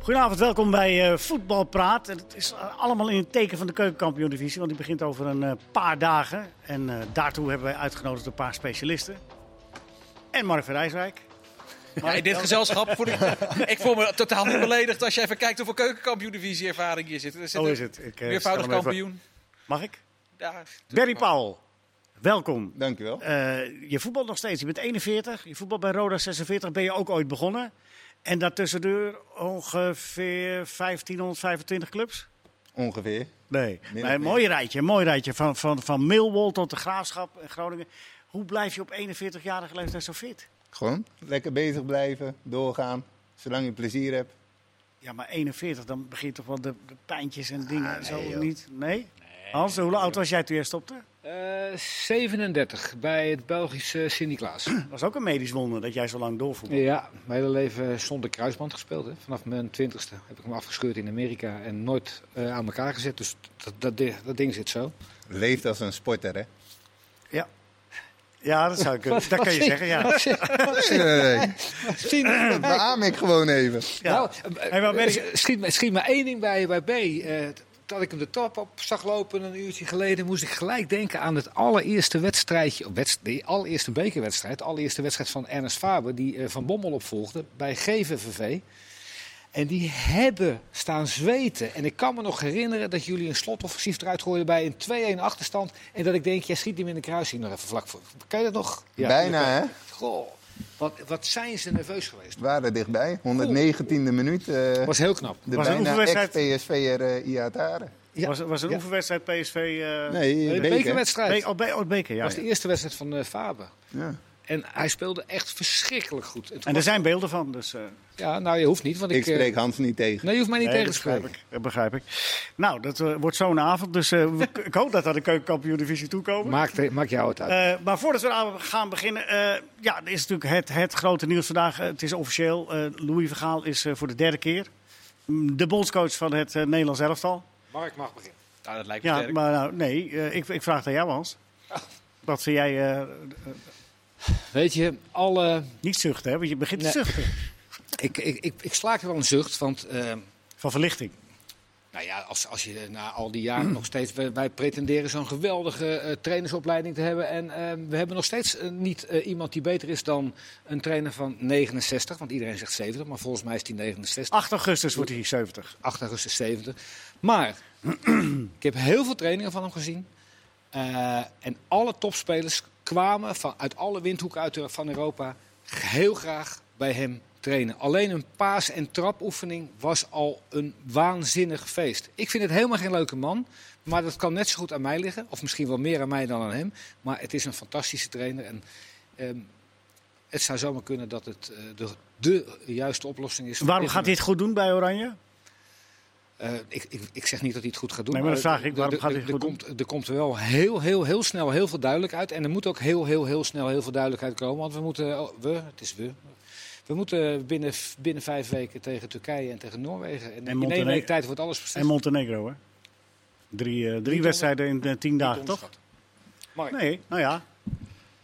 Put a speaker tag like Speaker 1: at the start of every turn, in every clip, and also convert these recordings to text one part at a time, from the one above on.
Speaker 1: Goedenavond, welkom bij eh Voetbalpraat. Het is eh, allemaal in het teken van de keukenkampioen-divisie, want die begint over een eh, paar dagen. En eh, daartoe hebben wij uitgenodigd een paar specialisten. En Mark van Rijswijk.
Speaker 2: Maar in dit gezelschap voel ik, ik voel me totaal niet beledigd als je even kijkt hoeveel keukenkampioen-divisie ervaring hier zit. Er zit
Speaker 1: Zo
Speaker 2: een
Speaker 1: is het. Ik, eh,
Speaker 2: Meervoudig
Speaker 1: stel hem even-
Speaker 2: kampioen.
Speaker 1: Mag ik?
Speaker 2: Ja, tuurlijk
Speaker 1: Barry
Speaker 2: wel.
Speaker 1: Powell, welkom.
Speaker 3: Dankjewel.
Speaker 1: Eh, je voetbalt nog steeds. Je bent 41. Je voetbalt bij Roda 46. Ben je ook ooit begonnen. En daartussendoor ongeveer 1525 clubs?
Speaker 3: Ongeveer.
Speaker 1: Nee.
Speaker 3: Min
Speaker 1: Maar
Speaker 3: of
Speaker 1: een
Speaker 3: meer.
Speaker 1: mooi rijtje. een Mooi rijtje. Van, van, van Millwall tot de Graafschap en Groningen. Hoe blijf je op 41-jarige leeftijd zo fit?
Speaker 3: Gewoon lekker bezig blijven, doorgaan, zolang je plezier hebt.
Speaker 1: Ja, maar 41, dan begint toch wel de, de pijntjes en dingen. en zo
Speaker 3: Ah, nee,
Speaker 1: of
Speaker 3: joh.
Speaker 1: niet? Nee? Hans, hoe oud was jij toen jij stopte?
Speaker 4: Eh, 37 bij het Belgische Sint-Niklaas.
Speaker 1: Dat was ook een medisch wonder dat jij zo lang doorvoetbalde.
Speaker 4: ja, mijn hele leven zonder kruisband gespeeld. Hè. Vanaf mijn 20ste heb ik hem afgescheurd in Amerika en nooit eh, aan elkaar gezet. Dus dat, dat, di- dat ding zit zo.
Speaker 3: Leeft als een sporter, hè?
Speaker 1: Ja, dat zou ik kunnen. Dat kan je zeggen, ja.
Speaker 3: Nee,
Speaker 4: Schiet,
Speaker 3: dat beaam ik gewoon even.
Speaker 1: Ja.
Speaker 4: nou, eh,
Speaker 1: Hey, maar ben ik-
Speaker 4: eh, schiet, me- schiet me één ding bij, bij Barry. Eh, dat ik hem de trap op zag lopen een uurtje geleden, moest ik gelijk denken aan het allereerste wedstrijdje, wedst, de allereerste bekerwedstrijd, de allereerste wedstrijd van Ernest Faber, die eh, Van Bommel opvolgde bij GVVV. En die hebben staan zweten. En ik kan me nog herinneren dat jullie een slotoffensief eruit gooiden bij een 2-1 achterstand. En dat ik denk, jij schiet hem in de kruising nog even vlak voor. Kan je dat nog?
Speaker 3: Bijna, hè?
Speaker 4: Goh, wat, wat zijn ze nerveus geweest.
Speaker 3: We waren dichtbij. 119e minuut. eh,
Speaker 4: was heel knap.
Speaker 3: de
Speaker 1: Was een
Speaker 3: bijna
Speaker 1: oefenwedstrijd?
Speaker 3: ex-PSV'er eh Iatare.
Speaker 4: Ja.
Speaker 1: Was, was een
Speaker 4: Ja.
Speaker 1: oefenwedstrijd PSV... eh,
Speaker 3: Nee,
Speaker 4: De
Speaker 3: Beker.
Speaker 4: bekerwedstrijd.
Speaker 1: Be- oh, Be- oh, Beker, ja.
Speaker 4: was de
Speaker 1: ja.
Speaker 4: eerste wedstrijd van eh, Faber.
Speaker 3: Ja.
Speaker 4: En hij speelde echt verschrikkelijk goed. En toen
Speaker 1: En er
Speaker 4: was-
Speaker 1: zijn beelden van, dus... eh,
Speaker 4: Ja, nou, je hoeft niet, want ik...
Speaker 3: Ik
Speaker 4: eh,
Speaker 3: spreek Hans niet tegen.
Speaker 4: Nee, je hoeft mij niet
Speaker 1: nee,
Speaker 4: tegen te
Speaker 1: dat begrijp
Speaker 4: spreken.
Speaker 1: ik, dat begrijp ik. Nou, dat eh, wordt zo'n avond, dus eh, we- ik hoop dat we aan de keukenkampioen-divisie toekomen. Maar,
Speaker 4: Maak, maak jou het uit.
Speaker 1: Eh, maar voordat we aan gaan beginnen, eh, ja, er is natuurlijk het, het grote nieuws vandaag. Eh, het is officieel, eh, Louis Vergaal is eh, voor de derde keer mm, de bondscoach van het eh, Nederlands elftal.
Speaker 4: Mark mag beginnen.
Speaker 2: Nou, dat lijkt me
Speaker 1: Ja,
Speaker 2: sterk.
Speaker 1: maar nou, nee, eh, ik, ik vraag het aan jou, Hans. Dat vind jij eh,
Speaker 4: Weet je, alle...
Speaker 1: niet zuchten, hè? want je begint
Speaker 4: Nee.
Speaker 1: te zuchten
Speaker 4: Ik, ik, ik, ik slaakte wel een zucht, want... eh,
Speaker 1: van verlichting.
Speaker 4: nou ja, als, als je na al die jaren nog steeds... Wij, wij pretenderen zo'n geweldige eh, trainersopleiding te hebben. En eh, we hebben nog steeds eh, niet eh, iemand die beter is dan een trainer van 69. Want iedereen zegt 70, maar volgens mij is die 69.
Speaker 1: 8 augustus wordt hij 70.
Speaker 4: 8 augustus 70. Maar ik heb heel veel trainingen van hem gezien. Eh, en alle topspelers kwamen van, uit alle windhoeken uit, eh, van Europa heel graag bij hem trainen. Alleen een paas- en trapoefening was al een waanzinnig feest. Ik vind het helemaal geen leuke man. Maar dat kan net zo goed aan mij liggen. Of misschien wel meer aan mij dan aan hem. Maar het is een fantastische trainer. En ehm, het zou zomaar kunnen dat het eh, de, de juiste oplossing is. voor
Speaker 1: Waarom
Speaker 4: dit
Speaker 1: gaat hij het goed doen bij Oranje?
Speaker 4: eh, ik, ik, ik zeg niet dat hij het goed gaat doen.
Speaker 1: Nee, maar dat
Speaker 4: eh,
Speaker 1: vraag ik.
Speaker 4: d-
Speaker 1: Waarom
Speaker 4: d-
Speaker 1: gaat hij
Speaker 4: d-
Speaker 1: het
Speaker 4: er
Speaker 1: goed doen?
Speaker 4: komt, Er komt wel heel, heel, heel snel heel veel duidelijk uit. En er moet ook heel, heel, heel snel heel veel duidelijkheid komen. Want we moeten, oh, we, het is we. We moeten binnen, v- binnen vijf weken tegen Turkije en tegen Noorwegen. En, in één
Speaker 1: Montenegro.
Speaker 4: week tijd wordt alles beslist.
Speaker 1: En Montenegro, hè? Drie, eh, drie wedstrijden in eh, tien dagen,
Speaker 4: Niet
Speaker 1: toch?
Speaker 4: onderschat. Mark,
Speaker 1: Nee, nou ja.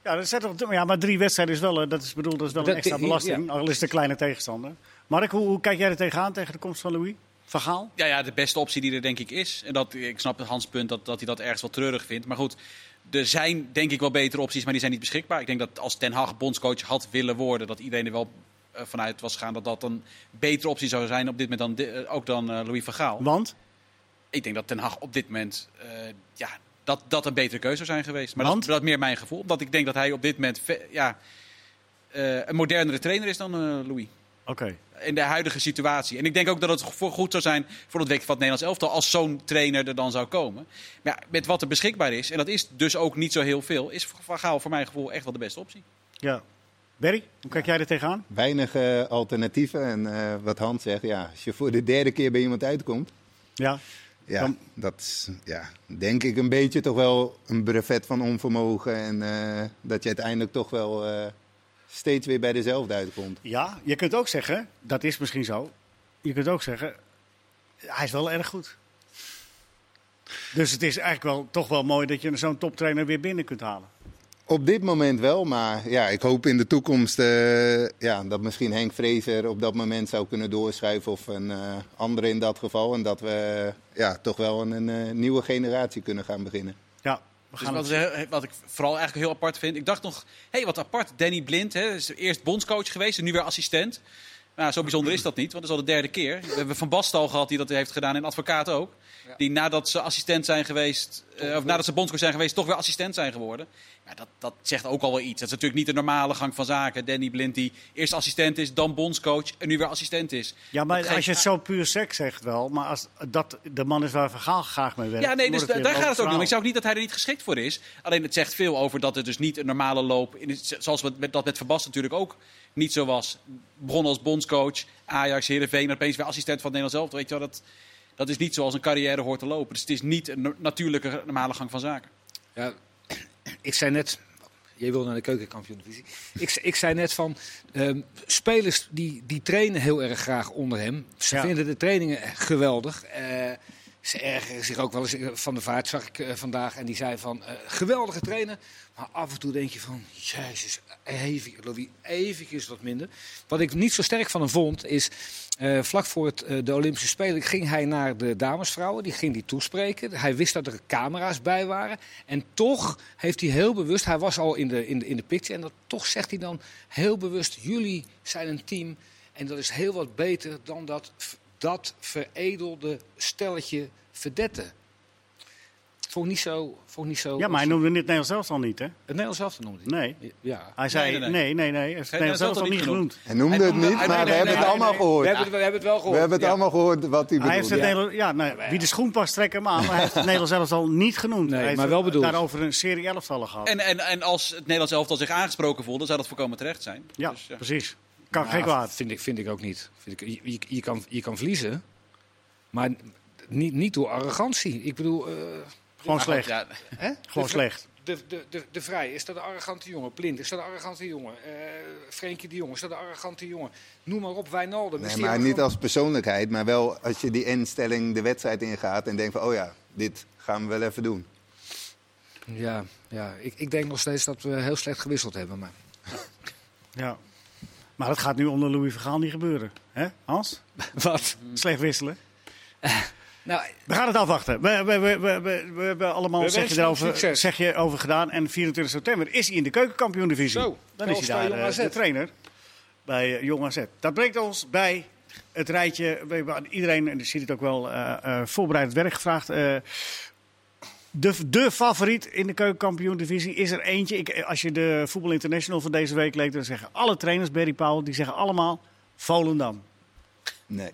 Speaker 1: Ja, dat zijn toch, ja, maar drie wedstrijden is wel, eh, dat is, bedoel, dat is wel een
Speaker 4: Dat-
Speaker 1: extra
Speaker 4: die-
Speaker 1: belasting. Al is het een kleine tegenstander. Mark, hoe, hoe kijk jij er tegenaan tegen de komst van Louis? Vergaal?
Speaker 2: Ja, ja, de beste optie die er denk ik is. En dat, ik snap het Hans punt dat, dat hij dat ergens wel treurig vindt. Maar goed, er zijn denk ik wel betere opties, maar die zijn niet beschikbaar. Ik denk dat als Ten Hag bondscoach had willen worden, dat iedereen er wel eh, vanuit was gegaan dat dat een betere optie zou zijn op dit moment dan, di- eh, ook dan eh, Louis van Gaal.
Speaker 1: Want?
Speaker 2: Ik denk dat Ten Hag op dit moment eh, ja, dat, dat een betere keuze zou zijn geweest. Maar dat,
Speaker 1: Want?
Speaker 2: is- dat is meer mijn gevoel. Omdat ik denk dat hij op dit moment ve- ja, eh, een modernere trainer is dan eh, Louis.
Speaker 1: Oké.
Speaker 2: In de huidige situatie. En ik denk ook dat het voor goed zou zijn voor het week van het Nederlands elftal. Als zo'n trainer er dan zou komen. Maar ja, met wat er beschikbaar is, en dat is dus ook niet zo heel veel. Is Van Gaal voor mijn gevoel echt wel de beste optie.
Speaker 1: Ja. Berry, hoe kijk jij er tegenaan?
Speaker 3: Weinig eh, alternatieven. En eh, wat Hans zegt, ja, als je voor de derde keer bij iemand uitkomt.
Speaker 1: Ja.
Speaker 3: Ja,
Speaker 1: Dan-
Speaker 3: dat is ja, denk ik een beetje toch wel een brevet van onvermogen. En eh, dat je uiteindelijk toch wel eh, steeds weer bij dezelfde uitkomt.
Speaker 1: Ja, je kunt ook zeggen, dat is misschien zo. Je kunt ook zeggen, hij is wel erg goed. Dus het is eigenlijk wel, toch wel mooi dat je zo'n toptrainer weer binnen kunt halen.
Speaker 3: Op dit moment wel, maar ja, ik hoop in de toekomst eh, ja, dat misschien Henk Vrezer op dat moment zou kunnen doorschuiven of een eh, andere in dat geval. En dat we eh, ja, toch wel een, een eh, nieuwe generatie kunnen gaan beginnen.
Speaker 1: Ja, we
Speaker 2: Dus
Speaker 1: gaan
Speaker 2: wat,
Speaker 1: het-
Speaker 2: is heel- wat ik vooral eigenlijk heel apart vind. Ik dacht nog, hé, hey, wat apart. Danny Blind hè, is eerst bondscoach geweest en nu weer assistent. Nou, zo bijzonder is dat niet, want dat is al de derde keer. We hebben Van Basten al gehad die dat heeft gedaan en advocaat ook. Die nadat ze assistent zijn geweest, eh, of nadat ze bondscoach zijn geweest, toch weer assistent zijn geworden. Ja, dat, dat zegt ook al wel iets. Dat is natuurlijk niet de normale gang van zaken. Danny Blind die eerst assistent is, dan bondscoach en nu weer assistent is.
Speaker 1: ja, maar
Speaker 2: dat geeft
Speaker 1: als je het zo puur seks zegt wel, maar als dat de man is waar Vergaal graag mee werkt.
Speaker 2: Ja, nee,
Speaker 1: dan
Speaker 2: dus
Speaker 1: wordt
Speaker 2: da-
Speaker 1: weer
Speaker 2: daar
Speaker 1: een
Speaker 2: gaat het
Speaker 1: logisch
Speaker 2: ook niet om. Ik zou ook niet dat hij er niet geschikt voor is. Alleen het zegt veel over dat het dus niet een normale loop... In, is. zoals we met, dat met Van Basten natuurlijk ook niet zo was. Begon als bondscoach, Ajax, Heerenveen... en opeens weer assistent van het Nederlands elftal. Weet je wel, dat, dat is niet zoals een carrière hoort te lopen. Dus het is niet een no- natuurlijke, normale gang van zaken.
Speaker 4: Ja, ik zei net, jij wil naar de keukenkampioen-divisie. Ik, ze- ik zei net van, ehm, spelers die, die trainen heel erg graag onder hem. Ze
Speaker 1: Ja.
Speaker 4: vinden de trainingen geweldig. Eh, ze ergeren zich ook wel eens. eh, Van de Vaart zag ik eh, vandaag en die zei van, eh, geweldige trainer. Maar af en toe denk je van, jezus, even, Louis, eventjes wat minder. Wat ik niet zo sterk van hem vond, is eh, vlak voor het, eh, de Olympische Spelen ging hij naar de damesvrouwen. Die ging die toespreken. Hij wist dat er camera's bij waren. En toch heeft hij heel bewust, hij was al in de, in de, in de picture. En dat, toch zegt hij dan heel bewust, jullie zijn een team. En dat is heel wat beter dan dat, v- dat veredelde stelletje verdette. Vond ik niet zo... Vond ik niet zo
Speaker 1: verhaal. Ja, maar hij noemde het Nederlands elftal niet, hè?
Speaker 4: Het Nederlands zelf noemde hij.
Speaker 1: Nee.
Speaker 4: Ja.
Speaker 1: Hij zei, nee,
Speaker 2: nee,
Speaker 1: nee,
Speaker 2: nee.
Speaker 1: nee, hij heeft het Nederlands
Speaker 2: Nederlands
Speaker 1: elftal
Speaker 2: elftal
Speaker 1: niet
Speaker 2: niet
Speaker 1: genoemd.
Speaker 3: Hij noemde
Speaker 2: Hij
Speaker 3: het
Speaker 2: noemde-
Speaker 3: niet,
Speaker 2: hij-
Speaker 3: maar
Speaker 2: nee,
Speaker 3: we
Speaker 2: nee,
Speaker 3: hebben
Speaker 2: nee,
Speaker 3: het
Speaker 2: nee,
Speaker 3: allemaal
Speaker 2: nee.
Speaker 3: gehoord.
Speaker 4: We hebben, het- we hebben het wel gehoord.
Speaker 3: we hebben het
Speaker 4: ja.
Speaker 3: allemaal gehoord wat hij
Speaker 1: Hij heeft
Speaker 3: bedoelde.
Speaker 1: het Nederlands, ja, nou, wie de schoen past, trek hem aan. Maar hij heeft het Nederlands elftal niet genoemd.
Speaker 4: Nee,
Speaker 1: hij heeft
Speaker 4: maar wel
Speaker 1: het
Speaker 4: bedoeld.
Speaker 1: daarover een serie elftallen gehad.
Speaker 2: En, en, en als het Nederlands elftal zich aangesproken voelde... zou dat voorkomen terecht zijn.
Speaker 1: ja,
Speaker 2: Dus, ja.
Speaker 1: precies. Kan
Speaker 4: Nou,
Speaker 1: geen kwaad.
Speaker 4: Vind ik, vind ik ook niet. Vind ik, je- je, je, kan, je kan verliezen, maar niet, niet door arrogantie. Ik bedoel, eh,
Speaker 1: Gewoon
Speaker 2: Maar goed,
Speaker 1: slecht.
Speaker 2: ja, Dus-
Speaker 4: hè?
Speaker 1: Gewoon
Speaker 4: de,
Speaker 1: slecht.
Speaker 4: De, de, de, de Vrij, is dat een arrogante jongen? Blind, is dat een arrogante jongen? Eh Frenkie de Jong, is dat een arrogante jongen? Noem maar op, Wijnaldum. is
Speaker 3: Nee,
Speaker 4: die
Speaker 3: maar
Speaker 4: arrogant?
Speaker 3: niet als persoonlijkheid, maar wel als je die instelling de wedstrijd ingaat en denkt van, oh ja, dit gaan we wel even doen.
Speaker 4: Ja, ja ik, ik denk nog steeds dat we heel slecht gewisseld hebben. Maar...
Speaker 1: Ja. Maar dat gaat nu onder Louis Vergaal niet gebeuren. hè, Hans?
Speaker 4: Wat?
Speaker 1: Hm. Slecht wisselen.
Speaker 4: Nou,
Speaker 1: We gaan het afwachten. We, we, we, we, we, we hebben allemaal
Speaker 4: We
Speaker 1: zeg, je
Speaker 4: wensen hem
Speaker 1: erover,
Speaker 4: succes.
Speaker 1: zeg je over gedaan. En 24 september is hij in de keukenkampioen-divisie.
Speaker 4: Zo,
Speaker 1: Dan is hij
Speaker 4: LSV
Speaker 1: daar
Speaker 4: Jong
Speaker 1: eh,
Speaker 4: AZ.
Speaker 1: de trainer bij eh, Jong AZ. Dat brengt ons bij het rijtje. We hebben aan iedereen, en dat ziet het ook wel, eh, eh, voorbereid werk gevraagd. Eh, de, de favoriet in de keukenkampioen-divisie is er eentje. Ik, eh, als je de Voetbal International van deze week leest, dan zeggen alle trainers, Barry Powell, die zeggen allemaal Volendam.
Speaker 3: Nee.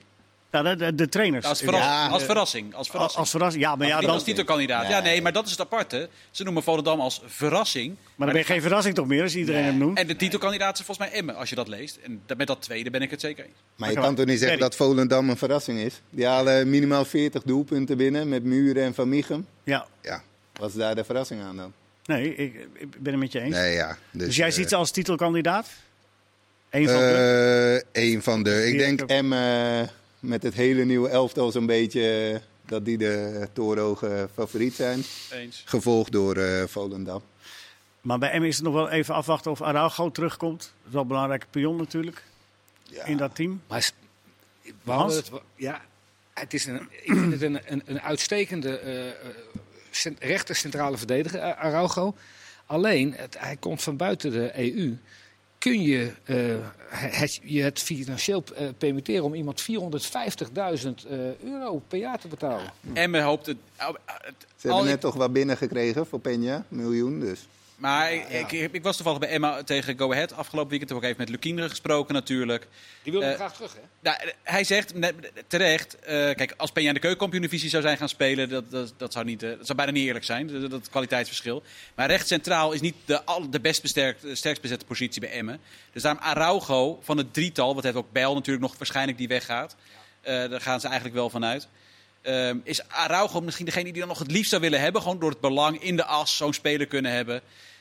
Speaker 1: Nou, de, de, de trainers.
Speaker 2: als, verras-
Speaker 3: Ja.
Speaker 2: als verrassing. Als
Speaker 1: Als,
Speaker 2: verrassing.
Speaker 1: als verrassing. Ja, maar ja,
Speaker 2: Niet
Speaker 1: dan,
Speaker 2: als titelkandidaat. Ja, nee, maar dat is het aparte. Ze noemen Volendam als verrassing.
Speaker 1: Maar dan ben je geen verrassing toch meer als iedereen hem noemt?
Speaker 2: En de titelkandidaat is volgens mij Emmen, als je dat leest. En da- met dat tweede ben ik het zeker eens.
Speaker 3: Maar je kan toch niet zeggen
Speaker 1: Ferry.
Speaker 3: dat Volendam een verrassing is? Die halen minimaal 40 doelpunten binnen met Muren en Van Michum.
Speaker 1: Ja,
Speaker 3: Ja, was daar de verrassing aan dan?
Speaker 1: nee, ik, ik ben het met je eens.
Speaker 3: Nee, ja. Dus,
Speaker 1: dus jij
Speaker 3: eh,
Speaker 1: ziet ze als titelkandidaat? Eén van de.
Speaker 3: eh, Een van de. Ik
Speaker 1: Die
Speaker 3: denk
Speaker 1: ook-
Speaker 3: M eh, met het hele nieuwe elftal zo'n beetje eh, dat die de torenhoge favoriet zijn.
Speaker 2: Eens.
Speaker 3: Gevolgd door eh, Volendam.
Speaker 1: Maar bij M is het nog wel even afwachten of Araujo terugkomt. Dat is wel een belangrijke pion natuurlijk
Speaker 3: Ja.
Speaker 1: in dat team.
Speaker 4: Maar is- we
Speaker 1: Hans?
Speaker 4: hadden het, ja, het is een, ik vind het een, een, een uitstekende eh, eh, cent- rechter centrale verdediger, eh, Araujo. Alleen, het, hij komt van buiten de EU. Kun je eh, het, je het financieel eh, permitteren om iemand 450.000 eh, euro per jaar te betalen?
Speaker 2: Emmen hoopt het. au- het-
Speaker 3: Ze hebben
Speaker 2: al-
Speaker 3: net toch wat binnengekregen voor Peña, miljoen dus.
Speaker 2: Maar ik, ik, ik was toevallig bij Emma tegen Go Ahead afgelopen weekend. Heb ik ook even met Lucinder gesproken natuurlijk.
Speaker 4: Die wil hem
Speaker 2: Eh,
Speaker 4: graag terug, hè?
Speaker 2: Nou, eh, hij zegt net- terecht, eh, kijk, als Peña in de keukenkampioen-divisie zou zijn gaan spelen, dat, dat, dat, zou niet, eh, dat zou bijna niet eerlijk zijn, dat, dat kwaliteitsverschil. Maar rechts centraal is niet de, al, de best besterkt, eh, sterkst bezette positie bij Emmen. Dus daarom Araujo van het drietal, wat heeft ook Bijl natuurlijk nog waarschijnlijk die weggaat. Eh, daar gaan ze eigenlijk wel vanuit. Ehm, is Araujo misschien degene die dan nog het liefst zou willen hebben, gewoon door het belang in de as zo'n speler kunnen hebben.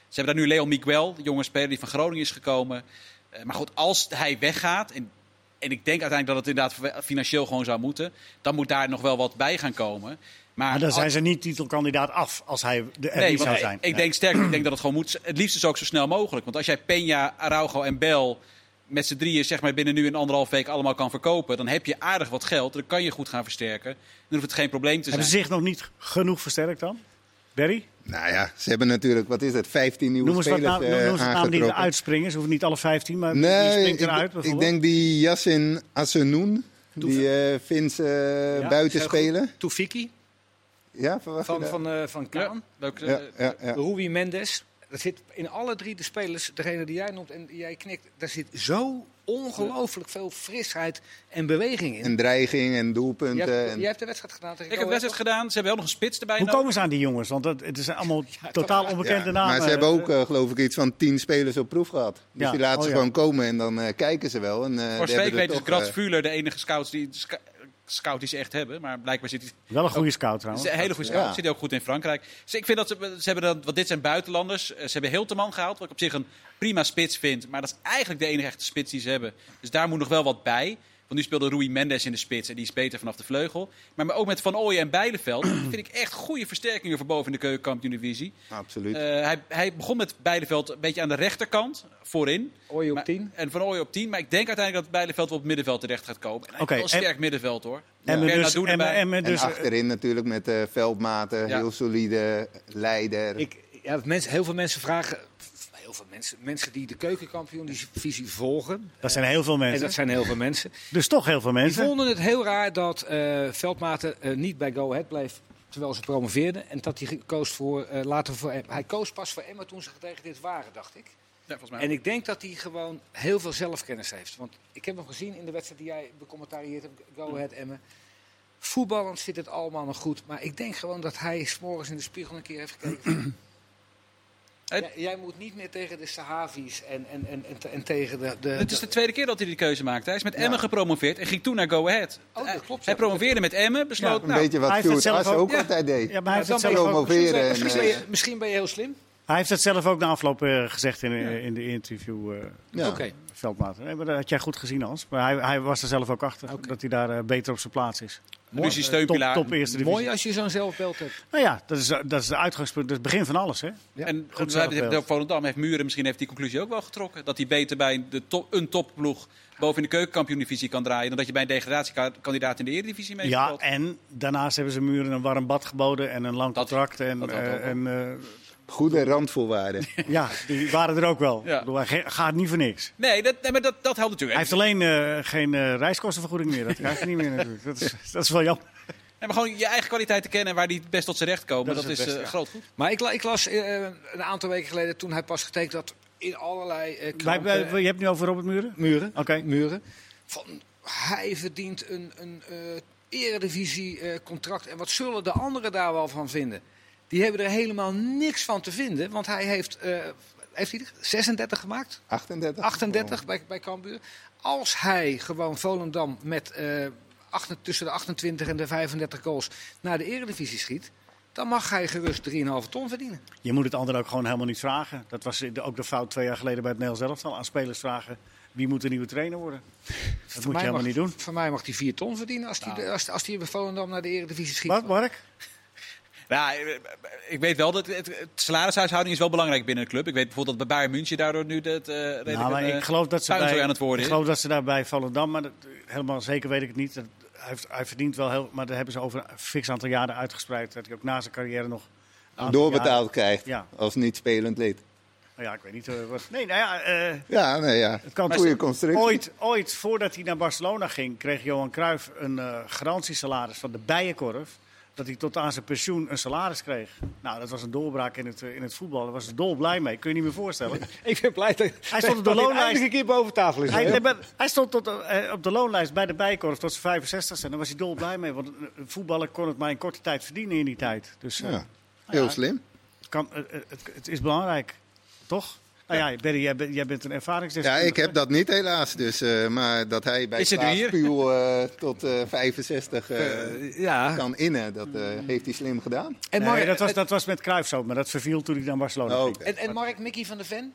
Speaker 2: Ze hebben daar nu Leo Miguel, de jonge speler die van Groningen is gekomen. Eh, maar goed, als hij weggaat, en en ik denk uiteindelijk dat het inderdaad financieel gewoon zou moeten. Dan moet daar nog wel wat bij gaan komen.
Speaker 1: Maar dan
Speaker 2: als-
Speaker 1: zijn ze niet titelkandidaat af als hij de er
Speaker 2: Nee,
Speaker 1: niet
Speaker 2: want
Speaker 1: zou
Speaker 2: ik-
Speaker 1: zijn.
Speaker 2: Ik denk sterk, ik denk dat het gewoon moet. Het liefst is ook zo snel mogelijk. Want als jij Peña, Araujo en Bel met z'n drieën zeg maar, binnen nu en anderhalf week allemaal kan verkopen... dan heb je aardig wat geld, dan kan je goed gaan versterken. Dan hoeft het geen probleem te zijn.
Speaker 1: Hebben ze zich nog niet genoeg versterkt dan? Barry,
Speaker 3: Nou ja, ze hebben natuurlijk, wat is het, 15 nieuwe
Speaker 1: noem eens wat
Speaker 3: spelers
Speaker 1: naam,
Speaker 3: eh,
Speaker 1: noem eens wat naam die
Speaker 3: aangetrokken.
Speaker 1: eruit springen. Ze hoeven niet alle 15, maar die
Speaker 3: Nee,
Speaker 1: springt
Speaker 3: ik,
Speaker 1: eruit
Speaker 3: ik
Speaker 1: bijvoorbeeld.
Speaker 3: denk die Yassin Asenoun, die eh Finse eh,
Speaker 4: Ja,
Speaker 3: buitenspeler.
Speaker 4: Toefiki
Speaker 3: Ja, verwacht je
Speaker 4: van,
Speaker 3: dat?
Speaker 4: van, eh, van Kaan.
Speaker 2: Ja, leuk, eh,
Speaker 3: ja, ja, ja.
Speaker 4: Rui Mendes. Dat zit in alle drie de spelers, degene die jij noemt en die jij knikt, daar zit zo ongelooflijk veel frisheid en beweging in.
Speaker 3: En dreiging en doelpunten.
Speaker 4: jij, hebt,
Speaker 3: en,
Speaker 4: jij hebt de wedstrijd gedaan tegen
Speaker 2: Ik heb
Speaker 4: Go Ahead,
Speaker 2: wedstrijd gedaan. Ze hebben wel nog een spits erbij
Speaker 1: Hoe
Speaker 4: nou-
Speaker 1: komen
Speaker 2: nodig.
Speaker 1: ze aan die jongens? Want dat, het zijn allemaal totaal onbekende
Speaker 3: Ja,
Speaker 1: namen.
Speaker 3: Maar ze hebben ook, eh, geloof ik, iets van 10 spelers op proef gehad. Dus
Speaker 1: Ja,
Speaker 3: die laten
Speaker 1: oh
Speaker 3: ze
Speaker 1: ja.
Speaker 3: gewoon komen en dan eh, kijken ze wel. En, eh, die
Speaker 2: Voor
Speaker 3: hebben
Speaker 2: week
Speaker 3: er
Speaker 2: weten ze
Speaker 3: toch,
Speaker 2: Grat
Speaker 3: eh,
Speaker 2: Vuurler, de enige scout die, sca- scout die ze echt hebben. Maar blijkbaar zit hij...
Speaker 1: Wel een goede scout trouwens.
Speaker 2: Ze is een hele goede scout.
Speaker 3: Ja.
Speaker 2: Zit hij ook goed in Frankrijk. Dus ik vind dat ze, ze hebben dan, want dit zijn buitenlanders. Eh, Ze hebben Hilterman gehaald, wat ik op zich een prima spits vind. Maar dat is eigenlijk de enige echte spits die ze hebben. Dus daar moet nog wel wat bij. Want nu speelde Rui Mendes in de spits en die is beter vanaf de vleugel. Maar, maar ook met Van Ooyen en Bijleveld vind ik echt goede versterkingen voor boven in de keukenkampioen-divisie.
Speaker 3: Absoluut.
Speaker 4: Eh,
Speaker 2: Eh, hij, hij begon met Bijleveld een beetje aan de rechterkant, voorin.
Speaker 4: Ooi op
Speaker 2: Maar-
Speaker 4: 10.
Speaker 2: En Van Ooyen op 10. Maar ik denk uiteindelijk dat Bijleveld wel op het middenveld terecht gaat komen. En hij
Speaker 1: Oké,
Speaker 2: heeft wel
Speaker 1: en-
Speaker 2: een sterk middenveld hoor.
Speaker 1: en we dus,
Speaker 2: Bernardo
Speaker 1: en, we-
Speaker 2: erbij.
Speaker 1: en we dus,
Speaker 3: en achterin natuurlijk met eh, veldmaten,
Speaker 2: Ja.
Speaker 3: heel solide leider.
Speaker 4: Ik, ja, dat mensen, heel veel mensen vragen, f- heel veel mensen, mensen die de keukenkampioen-divisie volgen,
Speaker 1: eh, dat zijn heel veel
Speaker 4: en
Speaker 1: mensen.
Speaker 4: dat zijn heel veel mensen,
Speaker 1: Dus toch heel veel
Speaker 4: die
Speaker 1: mensen.
Speaker 4: vonden het heel raar dat eh, Veldmaten eh, niet bij Go Ahead bleef terwijl ze promoveerden en dat hij koos voor, eh, later voor Em- hij koos pas voor Emma toen ze gedegradeerd waren, dacht ik.
Speaker 2: Ja, volgens mij.
Speaker 4: En ik denk dat hij gewoon heel veel zelfkennis heeft. Want ik heb hem gezien in de wedstrijd die jij becommentarieerd hebt, Go Ahead Emmen. Voetballend zit het allemaal nog goed. Maar ik denk gewoon dat hij s'morgens in de spiegel een keer heeft gekeken. van,
Speaker 2: Het-
Speaker 4: "Jij- jij moet niet meer tegen de Sahavi's en, en, en, en, te- en tegen de... de
Speaker 2: Het is de tweede keer dat hij die keuze maakt. Hij is met Emmen gepromoveerd en ging toen naar Go Ahead.
Speaker 4: Oh, dat klopt,
Speaker 2: Hij
Speaker 4: ja.
Speaker 2: promoveerde met Emmen, besloot...
Speaker 3: een
Speaker 2: nou,
Speaker 3: beetje
Speaker 1: hij
Speaker 3: wat
Speaker 1: heeft het
Speaker 3: Stuart
Speaker 1: zelf ook-
Speaker 3: As ook
Speaker 1: Ja.
Speaker 3: altijd deed.
Speaker 1: Ja, maar hij heeft,
Speaker 4: dan
Speaker 1: het
Speaker 4: ben
Speaker 1: zelf
Speaker 4: je
Speaker 1: ook,
Speaker 3: promoveren.
Speaker 4: misschien, ben-
Speaker 3: en,
Speaker 4: misschien,
Speaker 3: eh,
Speaker 4: ben je, misschien ben je heel slim.
Speaker 1: hij heeft het zelf ook na afloop eh, gezegd in, eh, in de interview. eh
Speaker 3: Ja.
Speaker 4: Oké.
Speaker 1: Veldmaat. Nee, maar dat had jij goed gezien, Hans. Maar hij, hij was er zelf ook achter dat hij daar eh, beter op zijn plaats is. eh,
Speaker 2: nu is hij
Speaker 1: Top,
Speaker 2: steunpilaar.
Speaker 1: top eerste divisie.
Speaker 4: Mooi als je zo'n zelfbeeld hebt.
Speaker 1: Nou ja, dat is, dat is de uitgangspunt. Dat is het begin van alles, hè?
Speaker 4: Ja.
Speaker 2: En
Speaker 1: Goed
Speaker 2: we hebben het
Speaker 1: zelfbeeld.
Speaker 2: ook Volendam. Heeft Muren misschien heeft die conclusie ook wel getrokken. Dat hij beter bij de top, een topploeg boven in de keukenkampioen-divisie kan draaien... dan dat je bij een degradatiekandidaat in de eredivisie mee
Speaker 1: Ja,
Speaker 2: speelt.
Speaker 1: en daarnaast hebben ze Muren een warm bad geboden en een lang
Speaker 2: Dat-
Speaker 1: contract. En,
Speaker 2: dat had
Speaker 1: eh,
Speaker 2: ook wel.
Speaker 1: en
Speaker 3: Goede randvoorwaarden.
Speaker 1: eh, ja, die waren er ook wel.
Speaker 2: Ja.
Speaker 1: Ik bedoel, hij ge- gaat niet voor niks.
Speaker 2: Nee, dat, nee, maar dat, dat helpt
Speaker 1: Hij
Speaker 2: natuurlijk.
Speaker 1: heeft alleen eh, geen eh, reiskostenvergoeding meer. Dat krijgt hij niet meer natuurlijk. Dat is, dat is wel jammer.
Speaker 2: En maar gewoon je eigen kwaliteiten kennen en waar die het best tot zijn recht komen.
Speaker 1: Dat
Speaker 2: Dat,
Speaker 1: is
Speaker 2: is,
Speaker 1: het beste,
Speaker 2: eh,
Speaker 1: ja.
Speaker 2: groot goed.
Speaker 4: Maar ik, la- ik las eh, een aantal weken geleden, toen hij pas getekend had, in allerlei eh
Speaker 1: Wij-
Speaker 4: kranten-
Speaker 1: wij- je hebt het nu over Robert Muren?
Speaker 4: Muren.
Speaker 1: Oké.
Speaker 4: Muren. Van, hij verdient een, een eh, eredivisie eh, contract. En wat zullen de anderen daar wel van vinden? Die hebben er helemaal niks van te vinden. Want hij heeft, eh, heeft hij er 36 gemaakt?
Speaker 3: 38?
Speaker 4: 38 bij, bij Cambuur. Als hij gewoon Volendam met eh, acht- tussen de 28 en de 35 goals naar de eredivisie schiet... dan mag hij gerust 3,5 ton verdienen.
Speaker 1: Je moet het ander ook gewoon helemaal niet vragen. Dat was de- ook de fout twee jaar geleden bij het Nederlands elftal. Aan spelers vragen wie moet de nieuwe trainer worden. Dat moet je helemaal niet doen. Nou.
Speaker 4: Voor mij mag hij 4 ton verdienen als hij de- als- als hij bij Volendam naar de eredivisie schiet.
Speaker 1: Wat, Mark?
Speaker 2: Ja, eh, ik weet wel dat het, het salarishuishouding is wel belangrijk binnen de club. Ik weet bijvoorbeeld dat bij Bayern München daardoor nu dat eh redelijk
Speaker 1: Nou, maar
Speaker 2: een, eh,
Speaker 1: ik geloof dat ze
Speaker 2: puinzooi
Speaker 1: bij,
Speaker 2: aan het worden
Speaker 1: ik
Speaker 2: is.
Speaker 1: geloof dat ze daar bij Volendam, maar dat, helemaal zeker weet ik het niet. Dat, hij, heeft- hij verdient wel heel, maar daar hebben ze over een fix aantal jaren uitgespreid. Dat hij ook na zijn carrière nog een aantal
Speaker 3: Oh. Doorbetaald krijgt
Speaker 1: Ja.
Speaker 3: als niet spelend lid.
Speaker 1: jaren- nou ja, ik weet niet eh, wat. Nee, nou ja, eh,
Speaker 3: Ja, nee, ja.
Speaker 1: het kan
Speaker 3: Goede constructie.
Speaker 1: Ooit, ooit, voordat hij naar Barcelona ging, kreeg Johan Cruijff een eh, garantiesalaris van de Bijenkorf. Dat hij tot aan zijn pensioen een salaris kreeg. Nou, dat was een doorbraak in het, eh, in het voetbal. Daar was hij dolblij mee. Kun je niet meer voorstellen.
Speaker 4: Ik ben blij dat
Speaker 1: Hij stond op de loonlijst.
Speaker 4: een keer boven tafel is.
Speaker 1: Hij, nee, maar hij stond tot, eh, op de loonlijst bij de Bijenkorf tot zijn 65ste. En daar was hij dolblij mee. Want eh, een voetballer kon het maar in korte tijd verdienen in die tijd. Dus eh,
Speaker 3: Ja. Heel
Speaker 1: ja.
Speaker 3: slim.
Speaker 1: het, kan, eh, eh, het, het is belangrijk, toch? Nou ja, Berry, jij, bent- jij bent een
Speaker 3: Ja,
Speaker 1: ervaringsdeskundige.
Speaker 3: ik heb dat niet helaas. Dus, eh, maar dat hij bij
Speaker 2: Is het
Speaker 3: Klaas
Speaker 2: hier?
Speaker 3: Puhl eh, tot eh, 65 eh,
Speaker 4: ja.
Speaker 3: kan innen, dat eh, heeft hij slim gedaan.
Speaker 4: En
Speaker 1: Nee,
Speaker 4: Mark,
Speaker 1: dat, was,
Speaker 4: en,
Speaker 1: dat was met Cruijff zo, maar dat verviel toen hij naar Barcelona
Speaker 3: Oh,
Speaker 1: ging.
Speaker 3: oké.
Speaker 4: en Mark Mickey van de Ven?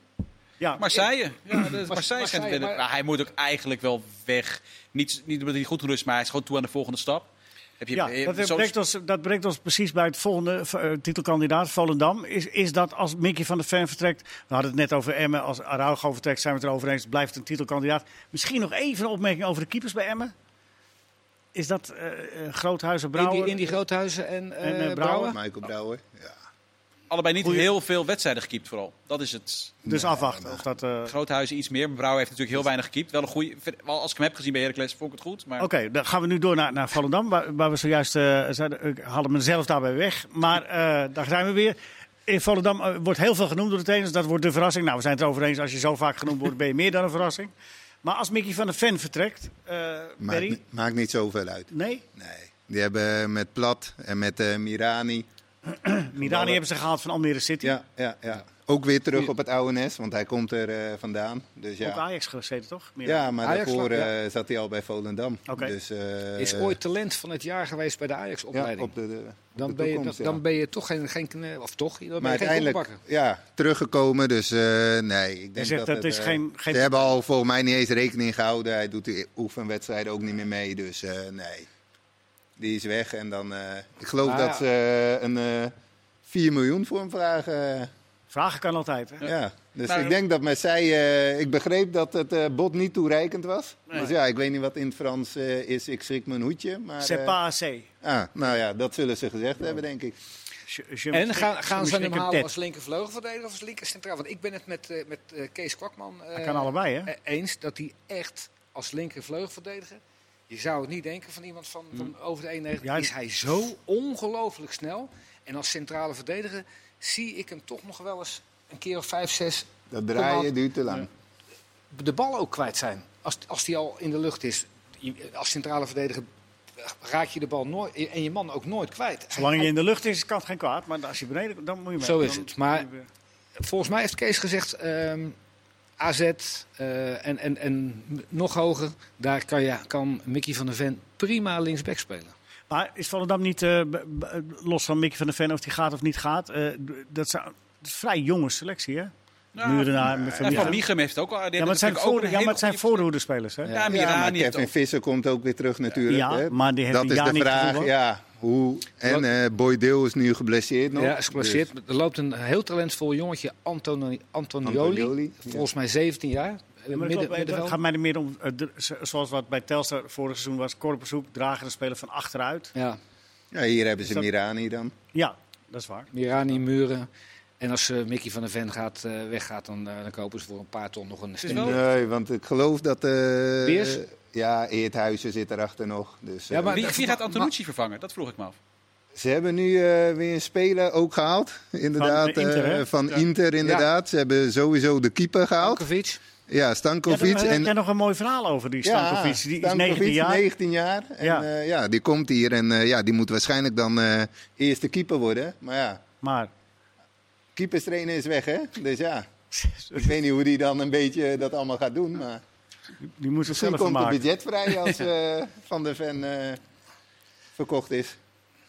Speaker 1: Ja,
Speaker 2: Marseille. Ja, dat is Marseille
Speaker 4: Marseille,
Speaker 2: schijnt Nou, het
Speaker 4: maar-
Speaker 2: maar... maar hij moet ook eigenlijk wel weg. Niet, niet omdat hij goed genoeg is, maar hij is gewoon toe aan de volgende stap. Heb je,
Speaker 1: Ja,
Speaker 2: eh,
Speaker 1: dat,
Speaker 2: zo'n-
Speaker 1: brengt ons, dat brengt ons precies bij het volgende eh, titelkandidaat, Volendam. Is, is dat als Mickey van der Ven vertrekt, we hadden het net over Emmen, als Araujo vertrekt zijn we het erover eens, het blijft een titelkandidaat. Misschien nog even een opmerking over de keepers bij Emmen. Is dat eh, eh, Groothuizen,
Speaker 4: In
Speaker 1: Brouwer?
Speaker 4: die, in die Groothuizen en, eh
Speaker 1: En, eh, Brouwer?
Speaker 4: Brouwer.
Speaker 3: Oh, Michael Brouwer. Ja.
Speaker 2: allebei niet
Speaker 1: Goeie-
Speaker 2: heel veel wedstrijden gekiept vooral. Dat is het.
Speaker 1: Dus afwachten. Of dat, eh,
Speaker 2: Groothuizen iets meer. maar Brouwer heeft natuurlijk heel weinig gekiept. Wel een goede. Wel, als ik hem heb gezien bij Heracles, vond ik het goed. Maar
Speaker 1: Oké, dan gaan we nu door naar, naar Volendam, waar, waar we zojuist eh, zeiden, ik haalde mezelf daarbij weg. Maar eh, daar zijn we weer. In Volendam eh, wordt heel veel genoemd door de trainers, dat wordt de verrassing. Nou, we zijn het erover eens, als je zo vaak genoemd wordt, ben je meer dan een verrassing. Maar als Mickey van der Ven vertrekt, eh
Speaker 3: Maakt,
Speaker 1: Berry?
Speaker 3: ni- maakt niet zoveel uit.
Speaker 1: Nee?
Speaker 3: Nee. Die hebben met Plat en met eh, Mirani.
Speaker 1: Mirani hebben ze gehaald van Almere City.
Speaker 3: Ja, ja, ja. Ook weer terug op het ONS, want hij komt er eh, vandaan. Dus
Speaker 1: Ook
Speaker 3: ja.
Speaker 1: Ajax gezeten, toch? Mirani.
Speaker 3: Ja, maar
Speaker 4: Ajax
Speaker 3: daarvoor
Speaker 4: lag,
Speaker 3: eh, zat hij al bij Volendam.
Speaker 1: Oké.
Speaker 3: Dus, eh,
Speaker 4: Is ooit talent van het jaar geweest bij de
Speaker 3: ja,
Speaker 4: Ajax-opleiding.
Speaker 3: op de, de- de
Speaker 4: dan, ben je,
Speaker 3: toekomst,
Speaker 4: dan,
Speaker 3: ja.
Speaker 4: dan ben je toch geen, geen kne- of toch, dan ben
Speaker 3: maar
Speaker 4: je geen
Speaker 3: uiteindelijk
Speaker 4: koekbakker.
Speaker 3: ja, teruggekomen, dus eh, nee. Ik denk
Speaker 1: zegt
Speaker 3: dat
Speaker 1: dat
Speaker 3: het,
Speaker 1: is
Speaker 3: eh,
Speaker 1: geen- geen-
Speaker 3: Ze hebben al volgens mij niet eens rekening gehouden. Hij doet die oefenwedstrijden ook niet meer mee, dus eh, nee. Die is weg en dan... eh, ik geloof
Speaker 4: Ah,
Speaker 3: dat
Speaker 4: ja.
Speaker 3: ze eh, een eh 4 miljoen voor hem vragen. eh,
Speaker 1: Vragen kan altijd, hè?
Speaker 3: Ja.
Speaker 1: Nou,
Speaker 3: Dus
Speaker 2: Maar-
Speaker 3: ik denk dat men zei... eh, ik begreep dat het eh, bod niet toereikend was. Dus ja, ik weet niet wat in het Frans eh, is. Ik schrik mijn hoedje, maar...
Speaker 1: C'est
Speaker 3: eh,
Speaker 1: pas assez.
Speaker 3: ah, nou ja, dat zullen ze gezegd hebben, denk ik.
Speaker 1: Je- je-
Speaker 4: En gaan, gaan ze
Speaker 1: je-
Speaker 4: hem
Speaker 1: je-
Speaker 4: halen
Speaker 1: je-
Speaker 4: als linker vleugelverdediger of als linker centraal? Want ik ben het met, eh, met eh, Kees Kwakman eh,
Speaker 1: Dat kan allebei, hè?
Speaker 4: eh, eens dat hij echt als linker vleugelverdediger... Je zou het niet denken van iemand van, van over de 91.
Speaker 1: Hmm. Ja,
Speaker 4: is
Speaker 1: het-
Speaker 4: hij zo ongelooflijk snel. En als centrale verdediger zie ik hem toch nog wel eens een keer of vijf, zes
Speaker 3: Dat
Speaker 4: Kom
Speaker 3: draaien
Speaker 4: op.
Speaker 3: duurt te lang.
Speaker 4: de bal ook kwijt zijn. Als, als die al in de lucht is. Je- Als centrale verdediger raak je de bal nooit en je man ook nooit kwijt.
Speaker 1: Zolang je in de lucht is, kan het geen kwaad. Maar als je beneden komt, dan moet je mee.
Speaker 4: Zo is
Speaker 1: Dan-
Speaker 4: het. Maar volgens mij heeft Kees gezegd, ehm, AZ eh, en, en, en nog hoger, daar kan, je, kan Mickey van der Ven prima linksback spelen.
Speaker 1: Maar is Volendam niet, eh, b- b- los van Mickey van der Ven of die gaat of niet gaat, eh, d- dat, zou, dat is een vrij jonge selectie, hè?
Speaker 2: Ja,
Speaker 1: Murenaar,
Speaker 2: En
Speaker 1: Van
Speaker 2: Van
Speaker 1: Michel.
Speaker 2: Michum heeft ook al. die
Speaker 1: Ja,
Speaker 2: hebben
Speaker 1: maar het zijn,
Speaker 2: natuurlijk ook
Speaker 1: voor, ja,
Speaker 2: een
Speaker 1: maar
Speaker 2: hele
Speaker 1: het zijn
Speaker 2: goede-
Speaker 1: voorhoederspelers, hè?
Speaker 2: Ja,
Speaker 3: Ja, maar
Speaker 2: Mirani heeft
Speaker 3: Kevin
Speaker 2: ook-
Speaker 3: Visser komt ook weer terug natuurlijk.
Speaker 1: Ja,
Speaker 3: hè.
Speaker 1: maar die heeft
Speaker 3: dat
Speaker 1: een
Speaker 3: is
Speaker 1: jaar
Speaker 3: de
Speaker 1: niet
Speaker 3: vraag,
Speaker 1: gevoetbald.
Speaker 3: ja. Hoe? En
Speaker 4: Wat-
Speaker 3: eh Boydeel is nu geblesseerd nog.
Speaker 4: ja, is geblesseerd.
Speaker 3: Dus.
Speaker 4: Er loopt een heel talentvol jongetje, Antoni, Antonioli,
Speaker 3: Antonioli, ja.
Speaker 4: volgens mij 17 jaar.
Speaker 1: Ja, maar dat klopt. Eh, Het gaat mij er meer om, eh, de- zo- zoals wat bij Telstar vorig seizoen was, korpershoek, dragen en spelen van achteruit.
Speaker 4: Ja,
Speaker 3: Dus, ja, hier hebben ze
Speaker 1: Is dat-
Speaker 3: Mirani dan.
Speaker 1: Ja, dat is waar.
Speaker 4: Mirani, Muren. En als eh, Mickey van der Ven gaat, eh, weggaat, dan, eh, dan kopen ze voor een paar ton nog een
Speaker 2: is
Speaker 4: stem.
Speaker 2: wel-
Speaker 3: Nee, want ik geloof dat... eh,
Speaker 4: Beers?
Speaker 3: ja, Eerthuizen zit erachter nog. Dus,
Speaker 4: Ja,
Speaker 3: eh,
Speaker 4: maar-
Speaker 2: Wie, wie gaat Antonucci vervangen? Dat vroeg ik me af.
Speaker 3: Ze hebben nu eh, weer een speler ook gehaald. Inderdaad,
Speaker 1: Van, eh, Inter,
Speaker 3: eh,
Speaker 1: hè?
Speaker 3: van Inter, inderdaad. Ze hebben sowieso de keeper gehaald.
Speaker 4: Ankovic.
Speaker 3: Ja,
Speaker 1: Ja, daar
Speaker 3: Stankovic.
Speaker 1: heb
Speaker 3: en
Speaker 1: jij nog een mooi verhaal over die Stankovic. die is 19 jaar.
Speaker 3: 19 jaar. En
Speaker 1: Ja.
Speaker 3: ja. ja, die komt hier en eh, ja, die moet waarschijnlijk dan eh, eerste keeper worden. Maar ja,
Speaker 1: Maar
Speaker 3: keeperstrainer is weg, hè? Dus ja, ik weet niet hoe die dan een beetje dat allemaal gaat doen. Maar
Speaker 1: die moet het
Speaker 3: misschien
Speaker 1: zelf
Speaker 3: komt er
Speaker 1: maken.
Speaker 3: budget vrij als eh, Van der Ven eh, verkocht is.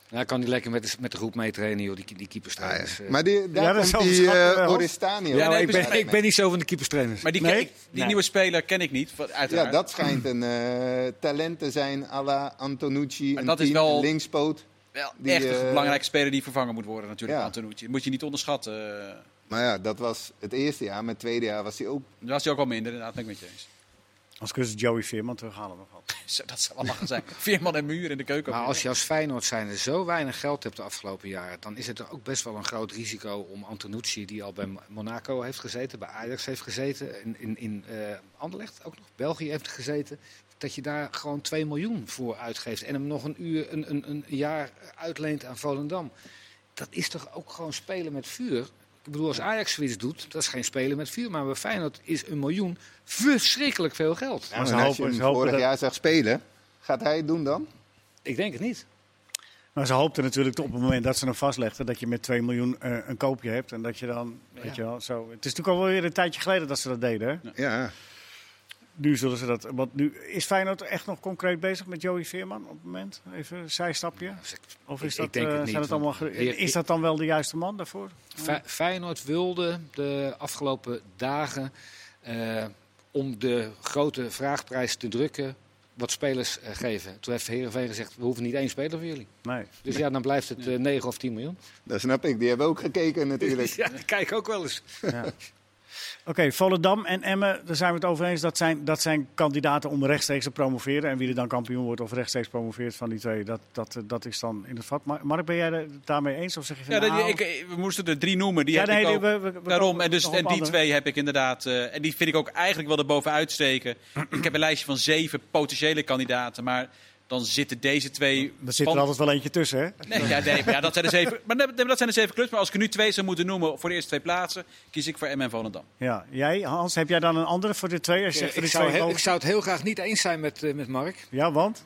Speaker 4: Nou, kan hij lekker met de, met de groep meetrainen, joh, die, die keeperstrainers. eh.
Speaker 3: Maar die, daar
Speaker 1: Ah, Ja, dat
Speaker 3: komt
Speaker 1: zou
Speaker 3: die
Speaker 1: schatten
Speaker 3: eh
Speaker 1: wel.
Speaker 3: Oristanio.
Speaker 4: Ja,
Speaker 2: nee,
Speaker 4: ik, ben,
Speaker 2: precies.
Speaker 4: ik ben niet zo van de keeperstrainers.
Speaker 2: Maar die,
Speaker 1: Nee?
Speaker 2: ken ik- die
Speaker 1: Nee.
Speaker 2: nieuwe speler ken ik niet. van-
Speaker 3: Ja,
Speaker 2: Uiteraard.
Speaker 3: dat schijnt een eh, talent te zijn à la Antonucci.
Speaker 2: Maar
Speaker 3: Een
Speaker 2: dat is
Speaker 3: team,
Speaker 2: wel-
Speaker 3: een linkspoot.
Speaker 2: Wel
Speaker 3: Die,
Speaker 2: echt een
Speaker 3: eh,
Speaker 2: belangrijke speler die vervangen moet worden natuurlijk,
Speaker 3: ja.
Speaker 2: Antonucci. Dat moet je niet onderschatten. Eh,
Speaker 3: Maar ja, dat was het eerste jaar. Met het tweede jaar was hij ook
Speaker 2: Daar was hij ook al minder, inderdaad, ben ik met je eens.
Speaker 1: Als kunnen ze Joey Veerman terughalen nog wat.
Speaker 2: Zo, dat zou wel lachen zijn. Veerman en muur in de keuken.
Speaker 4: Maar als je als Feyenoord zijnde zo weinig geld hebt de afgelopen jaren, dan is het er ook best wel een groot risico om Antonucci, die al bij Monaco heeft gezeten, bij Ajax heeft gezeten, in, in, in eh, Anderlecht ook nog, België heeft gezeten, dat je daar gewoon 2 miljoen voor uitgeeft en hem nog een, uur, een, een, een jaar uitleent aan Volendam. Dat is toch ook gewoon spelen met vuur? Ik bedoel, als Ajax zoiets doet, dat is geen spelen met vuur. Maar bij Feyenoord is een miljoen verschrikkelijk veel geld.
Speaker 1: maar ze
Speaker 3: en als
Speaker 1: hopen-
Speaker 3: je hem
Speaker 1: ze hopen
Speaker 3: vorig
Speaker 1: dat-
Speaker 3: jaar zag spelen, gaat hij het doen dan?
Speaker 4: Ik denk het niet.
Speaker 1: Maar ze hoopten natuurlijk op het moment dat ze hem vastlegden dat je met 2 miljoen eh, een koopje hebt. En dat je dan, weet je wel, zo. Het is natuurlijk alweer een tijdje geleden dat ze dat deden. Hè?
Speaker 3: Ja.
Speaker 1: Nu zullen ze dat. Want nu is Feyenoord echt nog concreet bezig met Joey Veerman op het moment. Even een zijstapje. Of is
Speaker 4: Nou, Ik-
Speaker 1: dat,
Speaker 4: ik denk het
Speaker 1: eh,
Speaker 4: niet,
Speaker 1: zijn het
Speaker 4: want-
Speaker 1: allemaal ge-
Speaker 4: Eer-
Speaker 1: is dat dan wel de juiste man daarvoor?
Speaker 4: Fe- Feyenoord wilde de afgelopen dagen eh, om de grote vraagprijs te drukken wat spelers eh, geven. Toen heeft Heerenveen gezegd, we hoeven niet één speler voor jullie.
Speaker 1: Nee.
Speaker 4: Dus ja, dan blijft het eh, 9 of 10 miljoen.
Speaker 3: Dat snap ik, die hebben ook gekeken natuurlijk.
Speaker 4: Ja, dat kijk ik ook wel eens.
Speaker 1: Ja. Oké, Volendam en Emmen, daar zijn we het over eens. Dat zijn, dat zijn kandidaten om rechtstreeks te promoveren. En wie er dan kampioen wordt of rechtstreeks promoveert van die twee, dat, dat, dat is dan in het vat. Maar- Mark, ben jij het daarmee eens? Of zeg je van,
Speaker 2: Ja, dat-
Speaker 1: nou,
Speaker 2: ik, ik- we moesten er drie noemen. Die
Speaker 1: Ja,
Speaker 2: heb
Speaker 1: nee,
Speaker 2: ik
Speaker 1: die-
Speaker 2: ook.
Speaker 1: we- we- we
Speaker 2: Daarom.
Speaker 1: komen
Speaker 2: En, dus,
Speaker 1: nog op
Speaker 2: en die
Speaker 1: andere.
Speaker 2: twee heb ik inderdaad. eh, en die vind ik ook eigenlijk wel erbovenuit steken. ik heb een lijstje van zeven potentiële kandidaten. Maar dan zitten deze twee.
Speaker 1: er zit er
Speaker 2: van-
Speaker 1: altijd wel eentje tussen, hè?
Speaker 2: Nee, ja, nee, maar ja, dat zijn de zeven. Maar dat dat zijn de zeven clubs. Maar als ik er nu twee zou moeten noemen voor de eerste twee plaatsen, kies ik voor M en Volendam.
Speaker 1: Ja, jij, Hans, heb jij dan een andere voor de twee? Als je zegt voor
Speaker 4: ik,
Speaker 1: die
Speaker 4: zou
Speaker 1: twee
Speaker 4: heel-
Speaker 1: boven-
Speaker 4: ik zou het heel graag niet eens zijn met, eh, met Mark.
Speaker 1: Ja, want?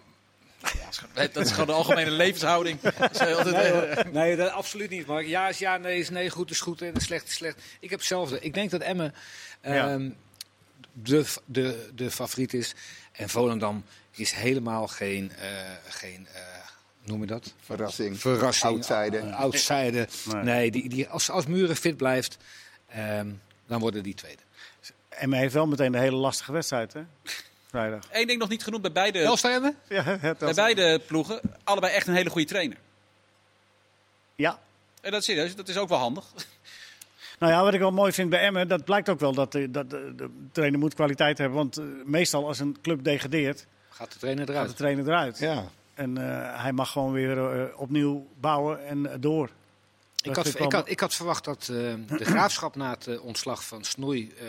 Speaker 2: Dat is gewoon de algemene levenshouding. Dat is altijd, eh,
Speaker 4: Nee, dat, absoluut niet, Mark. Ja is ja, nee is nee, goed is goed en slecht is slecht. Ik heb hetzelfde. Ik denk dat Emmen
Speaker 1: Ja.
Speaker 4: ehm, de, f- de, de favoriet is. En Volendam is helemaal geen, eh, geen eh, noem je dat?
Speaker 3: Verrassing.
Speaker 4: Verrassing.
Speaker 3: Outsider.
Speaker 4: Eh, outsider.
Speaker 1: Nee.
Speaker 4: Nee, die, die, als, als Muren fit blijft, ehm, dan worden die tweede.
Speaker 1: Emmen E heeft wel meteen een hele lastige wedstrijd, hè? Vrijdag.
Speaker 2: Eén ding nog niet genoemd bij beide,
Speaker 4: Telstar Emmen?
Speaker 1: Ja, het
Speaker 2: bij beide ploegen. Allebei echt een hele goede trainer.
Speaker 1: ja,
Speaker 2: En dat is serieus, dat is ook wel handig.
Speaker 1: Nou ja, wat ik wel mooi vind bij Emmen, dat blijkt ook wel dat, eh, dat eh, de trainer moet kwaliteit hebben. Want eh, meestal als een club degradeert,
Speaker 4: Gaat de trainer
Speaker 1: gaat de
Speaker 4: eruit.
Speaker 1: trainer eruit.
Speaker 3: Ja,
Speaker 1: En eh, hij mag gewoon weer eh, opnieuw bouwen en eh, door.
Speaker 4: Ik had,
Speaker 1: vind ik
Speaker 4: ik,
Speaker 1: wel-
Speaker 4: had, ik had verwacht dat eh, de graafschap na het eh, ontslag van Snoei eh,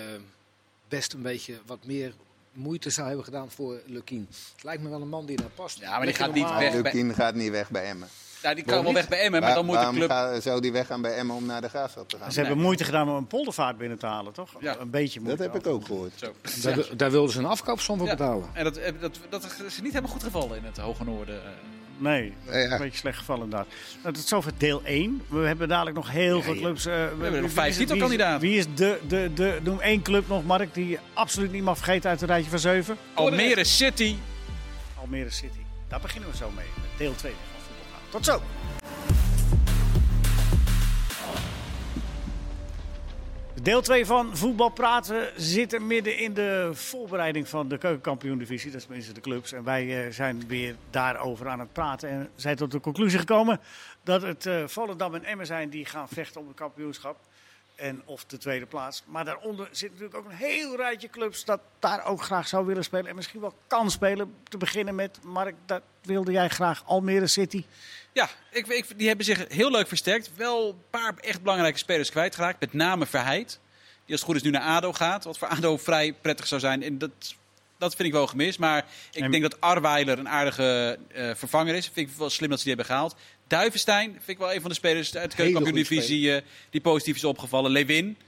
Speaker 4: best een beetje wat meer moeite zou hebben gedaan voor Lukien. Het lijkt me wel een man die daar past.
Speaker 2: Ja, maar die
Speaker 4: Lekker
Speaker 2: gaat niet
Speaker 4: normaal.
Speaker 2: weg. bij-
Speaker 3: Lukien gaat niet weg bij Emmen.
Speaker 2: Nou, die kan wel weg bij Emmen, maar
Speaker 3: Waar-
Speaker 2: dan moet de
Speaker 3: waarom
Speaker 2: club...
Speaker 3: ga- zou die weggaan bij Emmen om naar de Graafschap te gaan?
Speaker 1: Ze hebben moeite gedaan om een poldervaart binnen te halen, toch?
Speaker 2: Ja.
Speaker 1: Een beetje
Speaker 3: Dat
Speaker 1: moeite.
Speaker 3: heb ik ook gehoord.
Speaker 2: Zo.
Speaker 4: Daar, wi- daar wilden ze een afkoopsom voor
Speaker 2: Ja.
Speaker 4: betalen.
Speaker 2: En dat, eh, dat, dat is niet helemaal goed gevallen in het Hoge Noorden. eh.
Speaker 1: Nee, dat is
Speaker 3: Ja.
Speaker 1: een beetje slecht gevallen inderdaad. Nou, dat is zover deel 1. We hebben dadelijk nog heel veel clubs. eh, we
Speaker 2: nog vijf titelkandidaten.
Speaker 1: kandidaat. Wie is de, de, de, noem één club nog, Mark, die je absoluut niet mag vergeten uit het rijtje van zeven?
Speaker 2: Almere City.
Speaker 1: Almere City. Daar beginnen we zo mee, met deel 2 van Voetbalpraat. Tot
Speaker 2: Nou,
Speaker 1: zo! Deel 2 van Voetbal Praten zitten midden in de voorbereiding van de keukenkampioen-divisie. Dat is tenminste de clubs. En wij eh, zijn weer daarover aan het praten. En zijn tot de conclusie gekomen dat het eh, Volendam en Emmen zijn die gaan vechten om het kampioenschap. En of de tweede plaats. Maar daaronder zit natuurlijk ook een heel rijtje clubs dat daar ook graag zou willen spelen. En misschien wel kan spelen. Te beginnen met, Mark, dat wilde jij graag. Almere City.
Speaker 2: Ja, ik, ik, die hebben zich heel leuk versterkt. Wel een paar echt belangrijke spelers kwijtgeraakt. Met name Verheid. Die als het goed is nu naar ADO gaat. Wat voor ADO vrij prettig zou zijn. En dat, dat vind ik wel gemist. Maar ik
Speaker 1: En-
Speaker 2: denk dat Arweiler een aardige eh, vervanger is. Vind ik wel slim dat ze die hebben gehaald. Duivenstein vind ik wel een van de spelers uit de
Speaker 4: Hele goede
Speaker 2: keukenkampioen-divisie eh, die positief is opgevallen. Lewin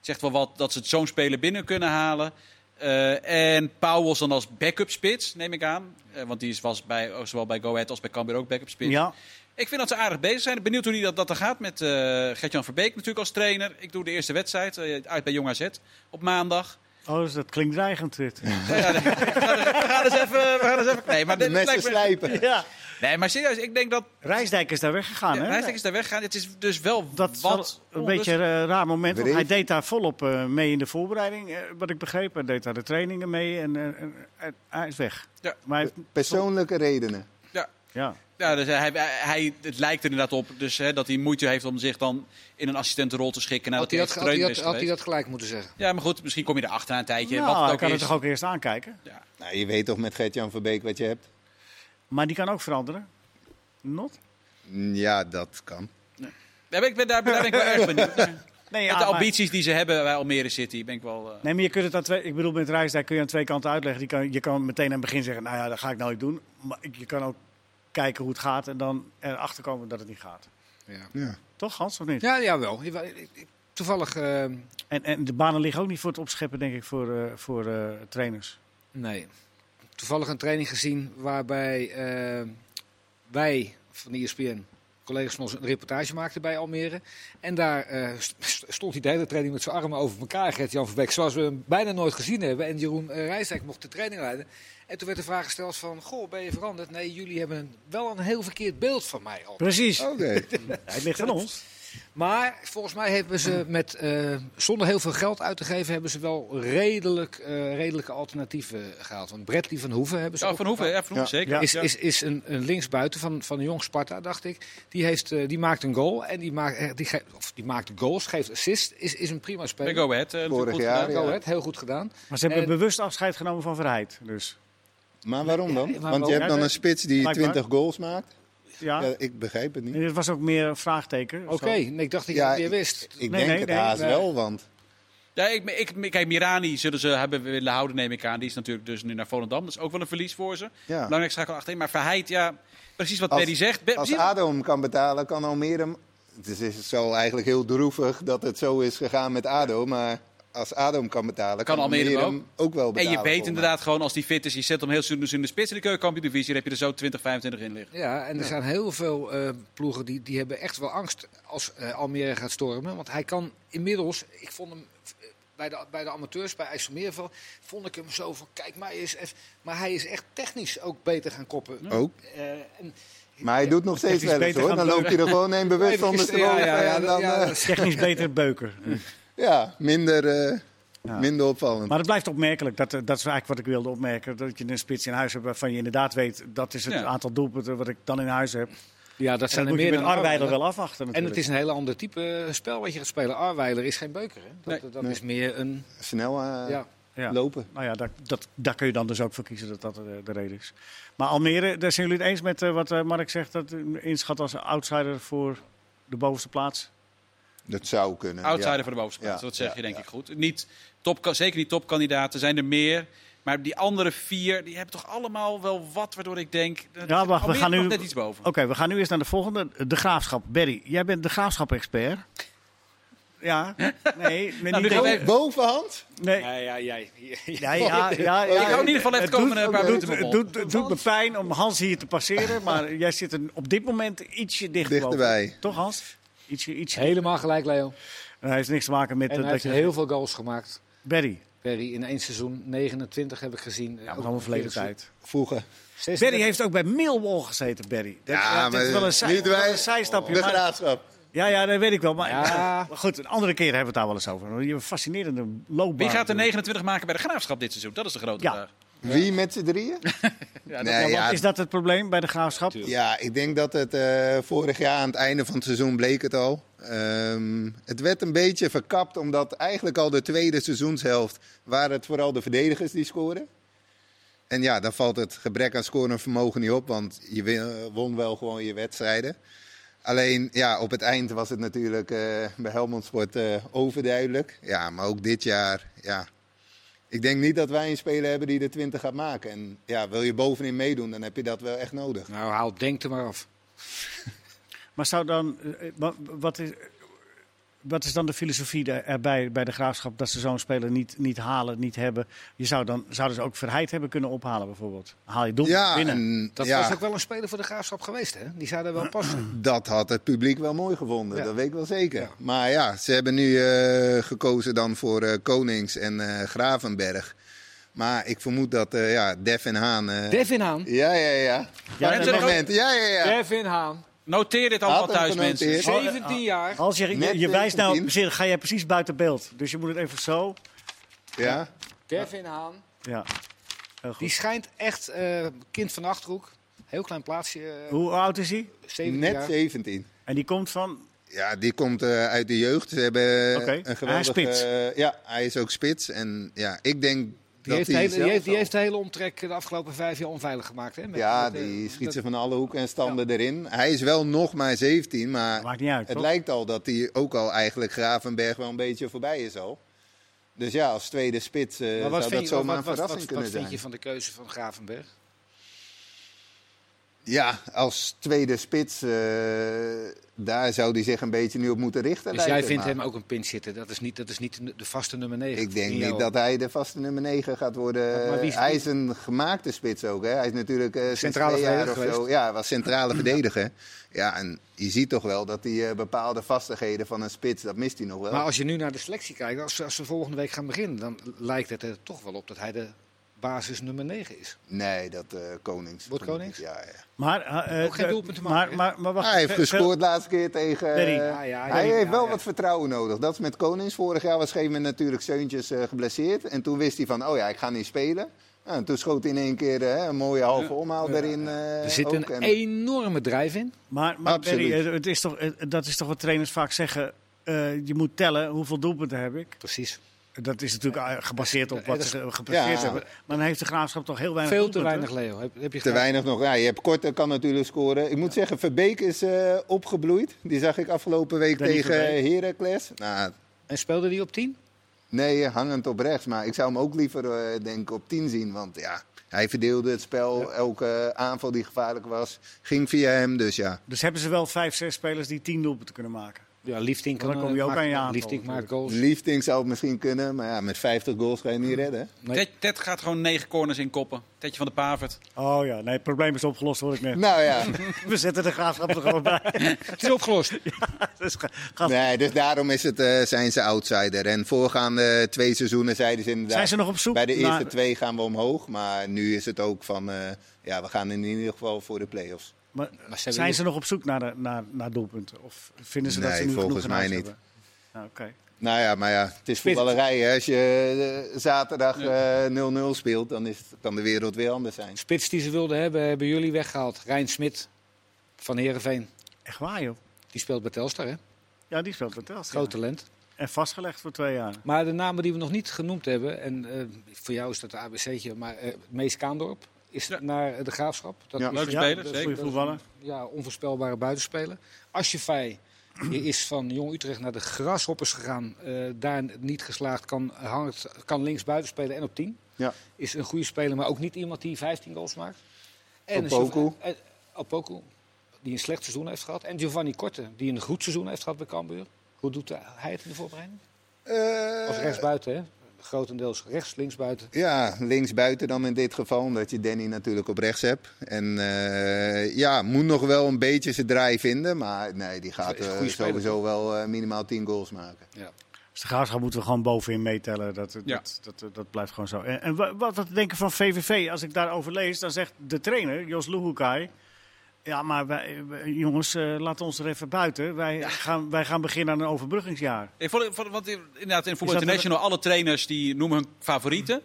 Speaker 2: zegt wel wat dat ze het zo'n speler binnen kunnen halen. Eh, en Pauwels dan als backup spits, neem ik aan. Eh, want die is- was bij, zowel bij Go Ahead als bij Cambuur ook backup spits.
Speaker 1: Ja,
Speaker 2: Ik vind dat ze aardig bezig zijn. Benieuwd hoe die dat, dat er gaat met eh Gert-Jan Verbeek natuurlijk als trainer. Ik doe de eerste wedstrijd eh, uit bij Jong AZ op maandag.
Speaker 1: oh, dus dat klinkt dreigend. dit.
Speaker 2: We gaan eens even... We gaan eens even nee, maar
Speaker 3: De
Speaker 2: dit
Speaker 3: messen
Speaker 2: lijkt me-
Speaker 3: slijpen.
Speaker 1: Ja.
Speaker 2: nee, maar serieus, ik denk dat...
Speaker 1: Ah, Rijsdijk is daar weggegaan,
Speaker 2: Ja,
Speaker 1: hè?
Speaker 2: Rijsdijk is daar weggegaan. Het is dus wel
Speaker 1: Dat is wel
Speaker 2: wat
Speaker 1: een
Speaker 2: onrust-
Speaker 1: beetje een eh, raar moment. Want
Speaker 3: Dreef.
Speaker 1: hij deed daar volop eh, mee in de voorbereiding, eh, wat ik begreep. Hij deed daar de trainingen mee en eh, en, eh, hij is weg.
Speaker 2: Ja.
Speaker 1: Maar hij heeft-
Speaker 3: Persoonlijke redenen.
Speaker 2: Ja.
Speaker 1: ja.
Speaker 2: Ja, dus hij, hij, het lijkt er inderdaad op dus, hè, dat hij moeite heeft om zich dan in een assistentenrol te schikken. Nadat
Speaker 4: Had hij, dat,
Speaker 2: echt
Speaker 4: had, hij
Speaker 2: trainer is
Speaker 4: dat, had hij
Speaker 2: geweest.
Speaker 4: dat gelijk moeten zeggen.
Speaker 2: Ja, maar goed, misschien kom je erachter na een tijdje.
Speaker 1: Nou,
Speaker 2: wat het
Speaker 1: hij
Speaker 2: ook
Speaker 1: kan
Speaker 2: is.
Speaker 1: het toch ook eerst aankijken?
Speaker 3: Nou, je weet toch met Gert-Jan Verbeek wat je hebt?
Speaker 1: Maar die kan ook veranderen. Not?
Speaker 3: Ja, dat kan.
Speaker 2: Daar ben ik, daar, daar ben ik wel erg benieuwd naar.
Speaker 1: Nee,
Speaker 2: Met
Speaker 1: ja,
Speaker 2: de
Speaker 1: maar-
Speaker 2: ambities die ze hebben bij Almere City ben ik wel... eh,
Speaker 1: Nee, maar je kunt het aan twee, ik bedoel, met Rijsdijk kun je aan twee kanten uitleggen. Die kan, je kan meteen aan het begin zeggen, nou ja, dat ga ik nooit doen. Maar je kan ook kijken hoe het gaat en dan erachter komen dat het niet gaat.
Speaker 4: Ja,
Speaker 3: Ja.
Speaker 1: Toch, Hans, of niet?
Speaker 4: ja jawel. Jawel, ik- ik- Toevallig, eh,
Speaker 1: En, en de banen liggen ook niet voor het opscheppen, denk ik, voor, eh, voor eh, trainers.
Speaker 4: nee. Toevallig een training gezien waarbij eh, wij van E de ESPN collega's van ons een reportage maakten bij Almere. En daar eh, st- st- stond hij de hele training met zijn armen over elkaar, Gert-Jan Verbeek. Zoals we hem bijna nooit gezien hebben. En Jeroen eh, Rijsdijk mocht de training leiden. En toen werd de vraag gesteld van, goh, ben je veranderd? Nee, jullie hebben een- wel een heel verkeerd beeld van mij al.
Speaker 1: Precies.
Speaker 3: Oké.
Speaker 1: Het ligt aan ons.
Speaker 4: Maar volgens mij hebben ze met, eh, zonder heel veel geld uit te geven, hebben ze wel redelijk, eh, redelijke alternatieven gehaald. Want Bradley van Hoeven hebben ze
Speaker 2: Ja,
Speaker 4: ook
Speaker 2: van Hoeven,
Speaker 4: gepakt.
Speaker 2: ja, van Hoeven
Speaker 3: Dus Ja.
Speaker 2: zeker.
Speaker 1: Ja.
Speaker 4: Is, is, is een, een linksbuiten van, van de jong Sparta, dacht ik. Die, heeft, eh, die maakt een goal en die maakt, eh, die geeft, of die maakt goals, geeft assist. Is, is een prima
Speaker 2: Bij
Speaker 4: speler.
Speaker 2: Go Ahead. eh, natuurlijk
Speaker 3: Vorig
Speaker 2: goed
Speaker 3: jaar,
Speaker 2: gedaan.
Speaker 4: Go Ahead, heel goed gedaan.
Speaker 1: Maar ze hebben
Speaker 4: En-
Speaker 1: bewust afscheid genomen van Verheid. Dus
Speaker 3: Maar waarom dan?
Speaker 4: Ja, maar
Speaker 3: Want
Speaker 1: wel-
Speaker 3: je hebt
Speaker 1: Ja,
Speaker 3: dan
Speaker 1: dat- Ah.
Speaker 3: een spits die
Speaker 1: blijkbaar.
Speaker 3: 20 goals maakt.
Speaker 1: ja.
Speaker 3: Ja, ik begrijp het
Speaker 1: En
Speaker 3: niet.
Speaker 1: dit was ook meer een vraagteken. of
Speaker 4: Oké,
Speaker 1: zo.
Speaker 4: nee, ik dacht dat je
Speaker 3: Ja,
Speaker 4: het weer wist.
Speaker 3: Ik
Speaker 1: Nee,
Speaker 3: denk
Speaker 1: nee,
Speaker 3: het
Speaker 1: nee,
Speaker 3: haast
Speaker 1: nee.
Speaker 3: wel, want
Speaker 2: Ja, ik, ik, kijk, Mirani zullen ze hebben willen houden, neem ik aan. Die is natuurlijk dus nu naar Volendam. Dat is ook wel een verlies voor ze.
Speaker 3: ja,
Speaker 2: Belangrijk schakel achterin. Maar Verheid, ja, precies wat
Speaker 3: Als-
Speaker 2: Teddy zegt. Be-
Speaker 3: als
Speaker 2: precies-
Speaker 3: ADO hem kan betalen, kan Almere hem... Dus is het zo eigenlijk heel droevig dat het zo is gegaan met ADO, maar... Als ADO hem kan betalen,
Speaker 2: Kan
Speaker 3: kan,
Speaker 2: Almere
Speaker 3: Almere
Speaker 2: hem
Speaker 3: hem ook wel
Speaker 2: en
Speaker 3: betalen.
Speaker 2: je weet
Speaker 3: volgens mij.
Speaker 2: inderdaad gewoon, als die fit is, je zet hem heel seizoen dus in de spits in de keukenkampioen-divisie. Dan heb je er zo 20, 25 in liggen.
Speaker 4: Ja, en er zijn heel veel eh, ploegen die, die hebben echt wel angst als eh, Almere gaat stormen. Want hij kan inmiddels, ik vond hem eh, bij de, bij de amateurs, bij IJsselmeerval, vond ik hem zo van, kijk mij eens even. Maar hij is echt technisch ook beter gaan koppen.
Speaker 3: Ook.
Speaker 4: Eh, en
Speaker 3: Maar hij doet nog steeds
Speaker 1: Technisch
Speaker 3: wel eens
Speaker 1: beter
Speaker 3: hoor.
Speaker 1: gaan
Speaker 3: Dan loopt hij er gewoon een bewust
Speaker 4: Even-
Speaker 3: onder
Speaker 4: ja,
Speaker 3: stroom.
Speaker 4: ja, ja,
Speaker 3: en dan,
Speaker 4: ja,
Speaker 3: eh,
Speaker 4: dat is-
Speaker 1: Technisch beter beuken.
Speaker 3: ja, minder, eh,
Speaker 1: Ja.
Speaker 3: minder opvallend.
Speaker 1: Maar het blijft opmerkelijk. Dat, eh, dat is eigenlijk wat ik wilde opmerken. Dat je een spits in huis hebt waarvan je inderdaad weet... dat is het
Speaker 2: Ja.
Speaker 1: aantal doelpunten wat ik dan in huis heb.
Speaker 4: ja, dat
Speaker 1: En
Speaker 4: zijn
Speaker 1: dat
Speaker 4: er
Speaker 1: moet je
Speaker 4: meer
Speaker 1: met
Speaker 4: dan
Speaker 1: Arbeider
Speaker 4: Arweiler.
Speaker 1: wel afwachten
Speaker 4: En het
Speaker 1: natuurlijk.
Speaker 4: is een heel ander type eh, spel wat je gaat spelen. Arweiler is geen beuker. Hè? Dat,
Speaker 2: Nee.
Speaker 4: dat
Speaker 3: Nee.
Speaker 4: is meer een...
Speaker 3: Snel eh,
Speaker 4: Ja.
Speaker 1: Ja.
Speaker 3: lopen.
Speaker 1: Nou ja, daar, dat, daar kun je dan dus ook voor kiezen dat dat eh, de reden is. Maar Almere, daar zijn jullie het eens met eh, wat eh, Mark zegt... dat eh, inschat als outsider voor de bovenste plaats?
Speaker 3: Dat zou kunnen.
Speaker 2: Outsider
Speaker 3: ja.
Speaker 2: voor de bovenste plaats.
Speaker 3: Ja,
Speaker 2: Dat zeg
Speaker 3: ja,
Speaker 2: je denk
Speaker 3: ja.
Speaker 2: ik goed. Niet top, zeker niet topkandidaten. zijn er meer. Maar die andere vier, die hebben toch allemaal wel wat waardoor ik denk... eh,
Speaker 1: Ja, wacht, we
Speaker 2: Almere
Speaker 1: gaan nu-
Speaker 2: nog net iets boven.
Speaker 1: Oké, we gaan nu eerst naar de volgende. De graafschap. Berry, jij bent de graafschap-expert. Ja, nee, nee,
Speaker 2: nu
Speaker 1: niet
Speaker 2: gaan
Speaker 1: dat-
Speaker 2: wij-
Speaker 3: Oh, Bovenhand?
Speaker 1: nee.
Speaker 4: Ja, ja, jij. Ja,
Speaker 1: Ja, ja, ja, ja.
Speaker 2: ik hou in ieder geval even
Speaker 1: Het
Speaker 2: komen
Speaker 1: doet-
Speaker 2: met een paar
Speaker 1: het
Speaker 2: minuten
Speaker 1: doet, het
Speaker 2: op.
Speaker 1: doet, het doet me pijn om Hans hier te passeren, maar jij zit er op dit moment ietsje dichter
Speaker 3: Dichterbij.
Speaker 1: Boven. Toch Hans? Ietsje, ietsje.
Speaker 4: Helemaal gelijk, Leo.
Speaker 1: Hij heeft niks te maken met
Speaker 4: En
Speaker 1: eh,
Speaker 4: hij heeft
Speaker 1: je-
Speaker 4: heel veel goals gemaakt.
Speaker 1: Berry.
Speaker 4: Perry in één seizoen, 29 heb ik gezien.
Speaker 1: Ja, maar allemaal verleden tijd.
Speaker 3: Vroeger.
Speaker 1: Berry heeft ook bij Millwall gezeten, Berry. Dat,
Speaker 3: Ja,
Speaker 1: dat is
Speaker 3: maar
Speaker 1: wel een, zij,
Speaker 3: niet
Speaker 1: wel
Speaker 3: wij-
Speaker 1: een zijstapje.
Speaker 3: De
Speaker 1: maar-
Speaker 3: graafschap.
Speaker 1: ja, ja, dat weet ik wel. Maar,
Speaker 4: Ja.
Speaker 1: maar goed, een andere keer hebben we het daar wel eens over. Je fascinerende loopbaan.
Speaker 2: Wie gaat er 29 maken bij de Graafschap dit seizoen? Dat is de grote
Speaker 1: Ja.
Speaker 2: vraag.
Speaker 3: Wie met z'n drieën?
Speaker 1: Ja, dat-
Speaker 3: Nee,
Speaker 1: ja, want
Speaker 3: ja.
Speaker 1: Is dat het probleem bij de graafschap?
Speaker 3: Ja, ik denk dat het eh, vorig jaar aan het einde van het seizoen bleek het al. Ehm, het werd een beetje verkapt, omdat eigenlijk al de tweede seizoenshelft waren het vooral de verdedigers die scoorden. En ja, dan valt het gebrek aan scorend vermogen niet op, want je win- won wel gewoon je wedstrijden. Alleen ja, op het eind was het natuurlijk eh, bij Helmond Sport eh, overduidelijk. Ja, maar ook dit jaar, ja. Ik denk niet dat wij een speler hebben die de 20 gaat maken. En ja, wil je bovenin meedoen, dan heb je dat wel echt nodig.
Speaker 4: Nou, haal, denk er maar af.
Speaker 1: Maar zou dan, eh, wa- wat, is, wat is dan de filosofie daar- erbij bij de graafschap dat ze zo'n speler niet, niet halen, niet hebben? Je zou dan zouden ze ook verheid hebben kunnen ophalen, bijvoorbeeld. Haal je doel binnen.
Speaker 3: en
Speaker 4: Dat
Speaker 3: ja,
Speaker 4: was ook wel een speler voor de graafschap geweest, hè? Die zou daar wel passen.
Speaker 3: dat had het publiek wel mooi gevonden,
Speaker 4: Ja.
Speaker 3: dat weet ik wel zeker.
Speaker 4: Ja.
Speaker 3: Maar ja, ze hebben nu eh, gekozen dan voor eh, Konings en eh, Gravenberg. Maar ik vermoed dat eh, ja, Def en Haan... eh,
Speaker 4: Devin Haan.
Speaker 3: Ja, ja, ja.
Speaker 1: Ja,
Speaker 3: Ja,
Speaker 1: en
Speaker 3: het
Speaker 1: zeg ook-
Speaker 3: moment. ja, ja, ja.
Speaker 4: Devin Haan,
Speaker 2: Noteer dit allemaal
Speaker 3: Had hem
Speaker 2: thuis,
Speaker 3: genoteerd.
Speaker 2: mensen.
Speaker 1: Oh, eh,
Speaker 4: 17 jaar.
Speaker 1: Als je, je,
Speaker 3: Net
Speaker 1: je wijst nou,
Speaker 3: 19.
Speaker 1: ga jij precies buiten beeld. Dus je moet het even zo.
Speaker 3: ja.
Speaker 4: Devin Haan.
Speaker 1: Ja. Heel goed.
Speaker 4: Die schijnt echt eh, kind van de Achterhoek. Heel klein plaatsje, eh,
Speaker 1: Hoe oud is hij?
Speaker 4: 17
Speaker 3: Net
Speaker 4: jaar.
Speaker 3: 17.
Speaker 1: En die komt van.
Speaker 3: Ja, die komt eh, uit de jeugd. Ze hebben eh,
Speaker 1: Oké. Hij
Speaker 3: een
Speaker 1: is
Speaker 3: geweldige...
Speaker 1: spits.
Speaker 3: eh, ja, hij is ook spits. En ja, ik denk
Speaker 4: Die
Speaker 3: dat
Speaker 4: heeft, de
Speaker 3: hij
Speaker 4: hele, die,
Speaker 3: zelf
Speaker 4: heeft, die
Speaker 3: al-
Speaker 4: heeft de hele omtrek de afgelopen vijf jaar onveilig gemaakt. Hè? Met-
Speaker 3: Ja,
Speaker 4: met, eh,
Speaker 3: die schiet
Speaker 4: dat-
Speaker 3: ze van alle hoeken en standen erin. Hij is wel nog maar 17, maar
Speaker 1: Maakt niet uit.
Speaker 3: het
Speaker 1: toch?
Speaker 3: lijkt al dat hij ook al eigenlijk Gravenberg wel een beetje voorbij is al. Dus ja, als tweede spits eh,
Speaker 4: Maar
Speaker 3: zou
Speaker 4: wat
Speaker 3: dat
Speaker 4: vind je-
Speaker 3: zomaar
Speaker 4: wat-
Speaker 3: een
Speaker 4: wat- wat-
Speaker 3: verrassing
Speaker 4: wat
Speaker 3: kunnen
Speaker 4: vind
Speaker 3: zijn.
Speaker 4: je van de keuze van Gravenberg?
Speaker 3: Ja, als tweede spits, eh, daar zou hij zich een beetje nu op moeten richten.
Speaker 4: Dus jij
Speaker 3: lijkt
Speaker 4: vindt
Speaker 3: het
Speaker 4: hem ook een pin zitten. Dat is niet, dat is niet de- de vaste nummer 9.
Speaker 3: maar. Ik denk niet dat hij de vaste nummer 9 gaat worden.
Speaker 4: Maar wie is-
Speaker 3: hij is een gemaakte spits ook. Hè? Hij is natuurlijk eh, sinds
Speaker 4: Centrale
Speaker 3: twee jaar
Speaker 4: verdediger
Speaker 3: of zo. Ja, hij was centrale verdediger. Ja, en je ziet toch wel dat hij eh, bepaalde vastigheden van een spits, dat mist hij nog wel.
Speaker 4: Maar als je nu naar de selectie kijkt, als, als we volgende week gaan beginnen, dan lijkt het er toch wel op dat hij de basis nummer 9 is.
Speaker 3: Nee, dat eh, Konings.
Speaker 4: Wordt Konings?
Speaker 3: Ja, ja.
Speaker 1: Maar, eh, eh,
Speaker 4: Ook geen
Speaker 1: de-
Speaker 4: doelpunt te maken,
Speaker 1: Maar,
Speaker 4: hè?
Speaker 1: maar, maar wacht,
Speaker 3: Hij heeft
Speaker 1: Ver- Ver-
Speaker 3: gescoord laatste keer tegen... eh,
Speaker 1: Berry.
Speaker 4: Ja, ja,
Speaker 3: hij
Speaker 4: ja,
Speaker 3: heeft
Speaker 4: ja,
Speaker 3: wel
Speaker 4: ja.
Speaker 3: wat vertrouwen nodig. Dat is met Konings. Vorig jaar was op een gegeven moment natuurlijk Seuntjes eh, geblesseerd. En toen wist hij van, oh ja, ik ga niet spelen. Nou, en toen schoot hij in één keer eh, een mooie halve omhaal erin. eh,
Speaker 4: Er zit
Speaker 3: ook.
Speaker 4: een
Speaker 3: En-
Speaker 4: enorme drijf in.
Speaker 1: Maar, maar
Speaker 3: Absoluut.
Speaker 1: Berry, eh, het is toch, eh, dat is toch wat trainers vaak zeggen. eh, je moet tellen hoeveel doelpunten heb ik.
Speaker 4: Precies.
Speaker 1: Dat is natuurlijk eh, gebaseerd op
Speaker 4: Eh,
Speaker 1: wat
Speaker 4: dat
Speaker 1: ze gepresteerd
Speaker 3: Ja.
Speaker 1: hebben. Maar dan heeft de graafschap toch heel weinig
Speaker 4: Veel te weinig,
Speaker 1: doelpunten.
Speaker 4: Leo. Heb, heb
Speaker 3: Te
Speaker 4: je gelijk.
Speaker 3: weinig nog. Ja, je hebt Korte kan natuurlijk scoren. Ik moet zeggen, Verbeek is eh, opgebloeid. Die zag ik afgelopen week
Speaker 1: Danny
Speaker 3: tegen
Speaker 1: Verbeek.
Speaker 3: Heracles. Nou,
Speaker 4: En speelde die op 10?
Speaker 3: nee, eh, hangend op rechts. Maar ik zou hem ook liever eh, denk ik, op 10 zien. Want ja, hij verdeelde het spel. Elke eh, aanval die gevaarlijk was, ging via hem. Dus ja,
Speaker 1: Dus hebben ze wel vijf, zes spelers die tien doelpunten kunnen maken.
Speaker 4: Ja, Liefdink
Speaker 1: Dan
Speaker 4: kan,
Speaker 1: kom je
Speaker 4: eh,
Speaker 1: ook
Speaker 4: maakt-
Speaker 1: aan je aanval
Speaker 4: Liefdink maakt
Speaker 1: natuurlijk.
Speaker 4: goals.
Speaker 3: Liefding zou het misschien kunnen. Maar ja, met 50 goals ga je
Speaker 1: Hm.
Speaker 3: niet redden.
Speaker 4: Nee.
Speaker 2: Ted, Ted gaat gewoon negen corners in koppen. Tedje van de Pavert.
Speaker 1: Oh ja, nee, het probleem is opgelost, hoor ik net.
Speaker 3: Nou ja,
Speaker 1: We zetten de graafschap er gewoon bij.
Speaker 4: Het is opgelost.
Speaker 1: Dus ga- ga-
Speaker 3: nee, dus daarom is het, eh, zijn ze outsider. En voorgaande twee seizoenen zeiden ze inderdaad...
Speaker 1: Zijn ze nog op zoek?
Speaker 3: Bij de eerste
Speaker 1: naar-
Speaker 3: twee gaan we omhoog, maar nu is het ook van, eh, ja, we gaan in ieder geval voor de play-offs.
Speaker 1: maar
Speaker 4: Maar ze
Speaker 1: zijn
Speaker 4: hebben-
Speaker 1: ze nog op zoek naar, de, naar, naar doelpunten? Of vinden ze dat
Speaker 3: Nee,
Speaker 1: ze nu
Speaker 3: volgens
Speaker 1: genoeg in huis
Speaker 3: mij niet.
Speaker 1: hebben? Nou, oké.
Speaker 3: Nou ja, maar ja, het is voetballerij. Hè. Als je eh, zaterdag eh, 0-0 speelt, dan is, het- kan de wereld weer anders zijn.
Speaker 4: Spits die ze wilden hebben, hebben jullie weggehaald. Rijn Smit van Herenveen.
Speaker 1: Echt waar, joh.
Speaker 4: Die speelt bij Telstar, hè?
Speaker 1: Ja, die speelt het test.
Speaker 4: Groot talent.
Speaker 1: En vastgelegd voor twee jaar.
Speaker 4: Maar de namen die we nog niet genoemd hebben, en eh, voor jou is dat de ABC'tje, maar eh Mees Kaandorp is
Speaker 2: Ja.
Speaker 4: naar de graafschap. Dat
Speaker 3: Ja.
Speaker 4: is
Speaker 2: Leuke
Speaker 1: Ja,
Speaker 2: speler,
Speaker 4: dat is
Speaker 2: zeker.
Speaker 1: Goeie voetballer.
Speaker 4: ja, onvoorspelbare buitenspeler. Asjefij die is van Jong Utrecht naar de Grasshoppers gegaan. eh, daar niet geslaagd, kan, hangt, kan links buiten spelen en op 10.
Speaker 3: Ja.
Speaker 4: Is een goede speler, maar ook niet iemand die 15 goals maakt. een
Speaker 3: Opoku.
Speaker 4: Giov- eh, Opoku, die een slecht seizoen heeft gehad. En Giovanni Korte, die een goed seizoen heeft gehad bij Cambuur. Hoe doet hij het in de voorbereiding?
Speaker 3: Eh,
Speaker 4: Als rechtsbuiten, hè? Grotendeels rechts, linksbuiten.
Speaker 3: Ja, linksbuiten dan in dit geval, omdat je Danny natuurlijk op rechts hebt. En eh, ja, moet nog wel een beetje zijn draai vinden, maar nee, die gaat
Speaker 4: Is een
Speaker 3: eh,
Speaker 4: goede speler,
Speaker 3: sowieso wel eh, minimaal 10 goals maken.
Speaker 4: Ja.
Speaker 1: Dus de graafschap moeten we gewoon bovenin meetellen. Dat, dat,
Speaker 2: Ja.
Speaker 1: dat, dat, dat blijft gewoon zo. En, en wa- wat, wat denken van VVV? Als ik daarover lees, dan zegt de trainer, Jos Luhukai... Ja, maar wij, wij- jongens, eh laat ons er even buiten. Wij, gaan, wij gaan beginnen aan een overbruggingsjaar.
Speaker 2: Ik vond, vond- want in- inderdaad, in Voetbal
Speaker 1: dat
Speaker 2: International, alle trainers die noemen hun favorieten.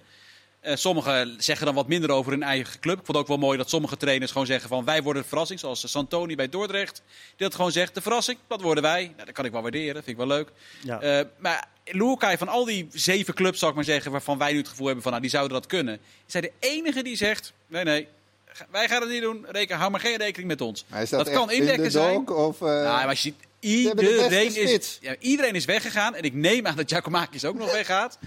Speaker 2: Eh, sommigen zeggen dan wat minder over hun eigen club. Ik vond het ook wel mooi dat sommige trainers gewoon zeggen van wij worden de verrassing. Zoals Santoni bij Dordrecht. Die dat gewoon zegt, de verrassing, dat worden wij. Nou, dat kan ik wel waarderen, vind ik wel leuk.
Speaker 1: Ja.
Speaker 2: Eh, maar Loerkai, van al die zeven clubs, zou ik maar zeggen, waarvan wij nu het gevoel hebben van nou, die zouden dat kunnen. Is hij de enige die zegt, nee, nee, ga- wij gaan het niet doen. Reken, hou maar geen rekening met ons.
Speaker 3: Maar is
Speaker 2: dat kan indekken zijn.
Speaker 3: Of, eh,
Speaker 2: Nou, maar als je ziet,
Speaker 3: hebben de beste
Speaker 2: iedereen is,
Speaker 3: spits.
Speaker 2: ja, iedereen is weggegaan. En ik neem aan dat Giacomakis ook nog weggaat.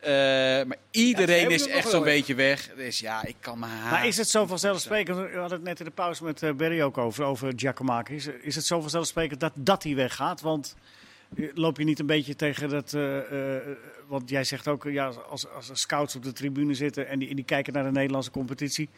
Speaker 2: Eh, maar iedereen
Speaker 4: hebben
Speaker 2: is
Speaker 4: hem nog
Speaker 2: echt
Speaker 4: wel
Speaker 2: zo'n
Speaker 4: weg.
Speaker 2: beetje weg. Dus ja, ik kan me haast.
Speaker 1: Maar Ah, is het zo vanzelfsprekend? We hadden het net in de pauze met eh, Berry ook over, over Giacomakis. Is het zo vanzelfsprekend dat, dat hij weggaat? Want eh, loop je niet een beetje tegen dat... eh, eh, want jij zegt ook, eh, ja, als, als er scouts op de tribune zitten... en die, en die kijken naar de Nederlandse competitie...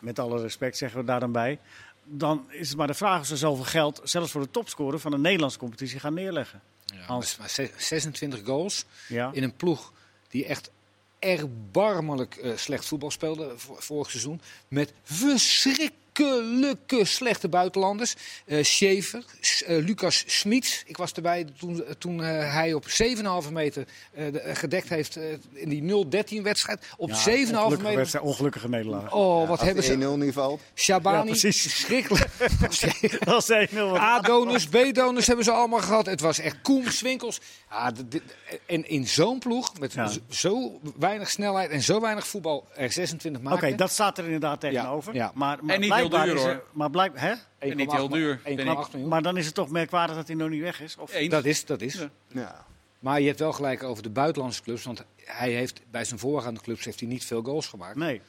Speaker 1: met alle respect zeggen we daar dan bij... dan is het maar de vraag of ze zoveel geld... zelfs voor de topscorer van de Nederlandse competitie gaan neerleggen. Hans.
Speaker 4: Maar ze- 26 goals
Speaker 1: Ja,
Speaker 4: in een ploeg die echt erbarmelijk eh, slecht voetbal speelde vo- vorig seizoen. Met verschrikkelijke slechte buitenlanders. Eh Schaefer, S- eh, Lucas Smits. Ik was erbij toen, toen eh, hij op 7,5 meter eh, de- eh, gedekt heeft eh, in die 0-13 wedstrijd. Op
Speaker 1: Ja,
Speaker 4: 7,5
Speaker 1: ongelukkige
Speaker 4: meter.
Speaker 1: wedstrijd, Ongelukkige nederlaag.
Speaker 4: Oh, wat
Speaker 3: als
Speaker 4: hebben ze.
Speaker 3: 1-0 niet valt.
Speaker 1: Ja,
Speaker 4: Shabani,
Speaker 1: precies.
Speaker 4: schrikkelijk.
Speaker 1: Dat is 1-0. wat-
Speaker 4: Ah, A-donors, B-donors hebben ze allemaal gehad. Het was echt Koem, Swinkels. Ja, d- d- en in zo'n ploeg, met
Speaker 1: Ja.
Speaker 4: z- zo weinig snelheid en zo weinig voetbal, er 26
Speaker 1: Oké,
Speaker 4: maken.
Speaker 1: dat staat er inderdaad tegenover.
Speaker 4: ja.
Speaker 1: Maar, maar
Speaker 2: En niet heel
Speaker 1: blijkbaar
Speaker 2: duur,
Speaker 1: is er-
Speaker 2: hoor.
Speaker 1: Maar blijk, hè?
Speaker 2: En niet heel duur.
Speaker 4: 1,8
Speaker 2: Ben ik-
Speaker 4: miljoen.
Speaker 1: Maar dan is het toch merkwaardig dat hij nog niet weg is? Of...
Speaker 2: Eens.
Speaker 4: Dat is, dat is.
Speaker 2: Ja.
Speaker 3: Ja.
Speaker 4: Maar je hebt wel gelijk over de buitenlandse clubs. Want hij heeft, bij zijn voorgaande clubs heeft hij niet veel goals gemaakt.
Speaker 1: Nee.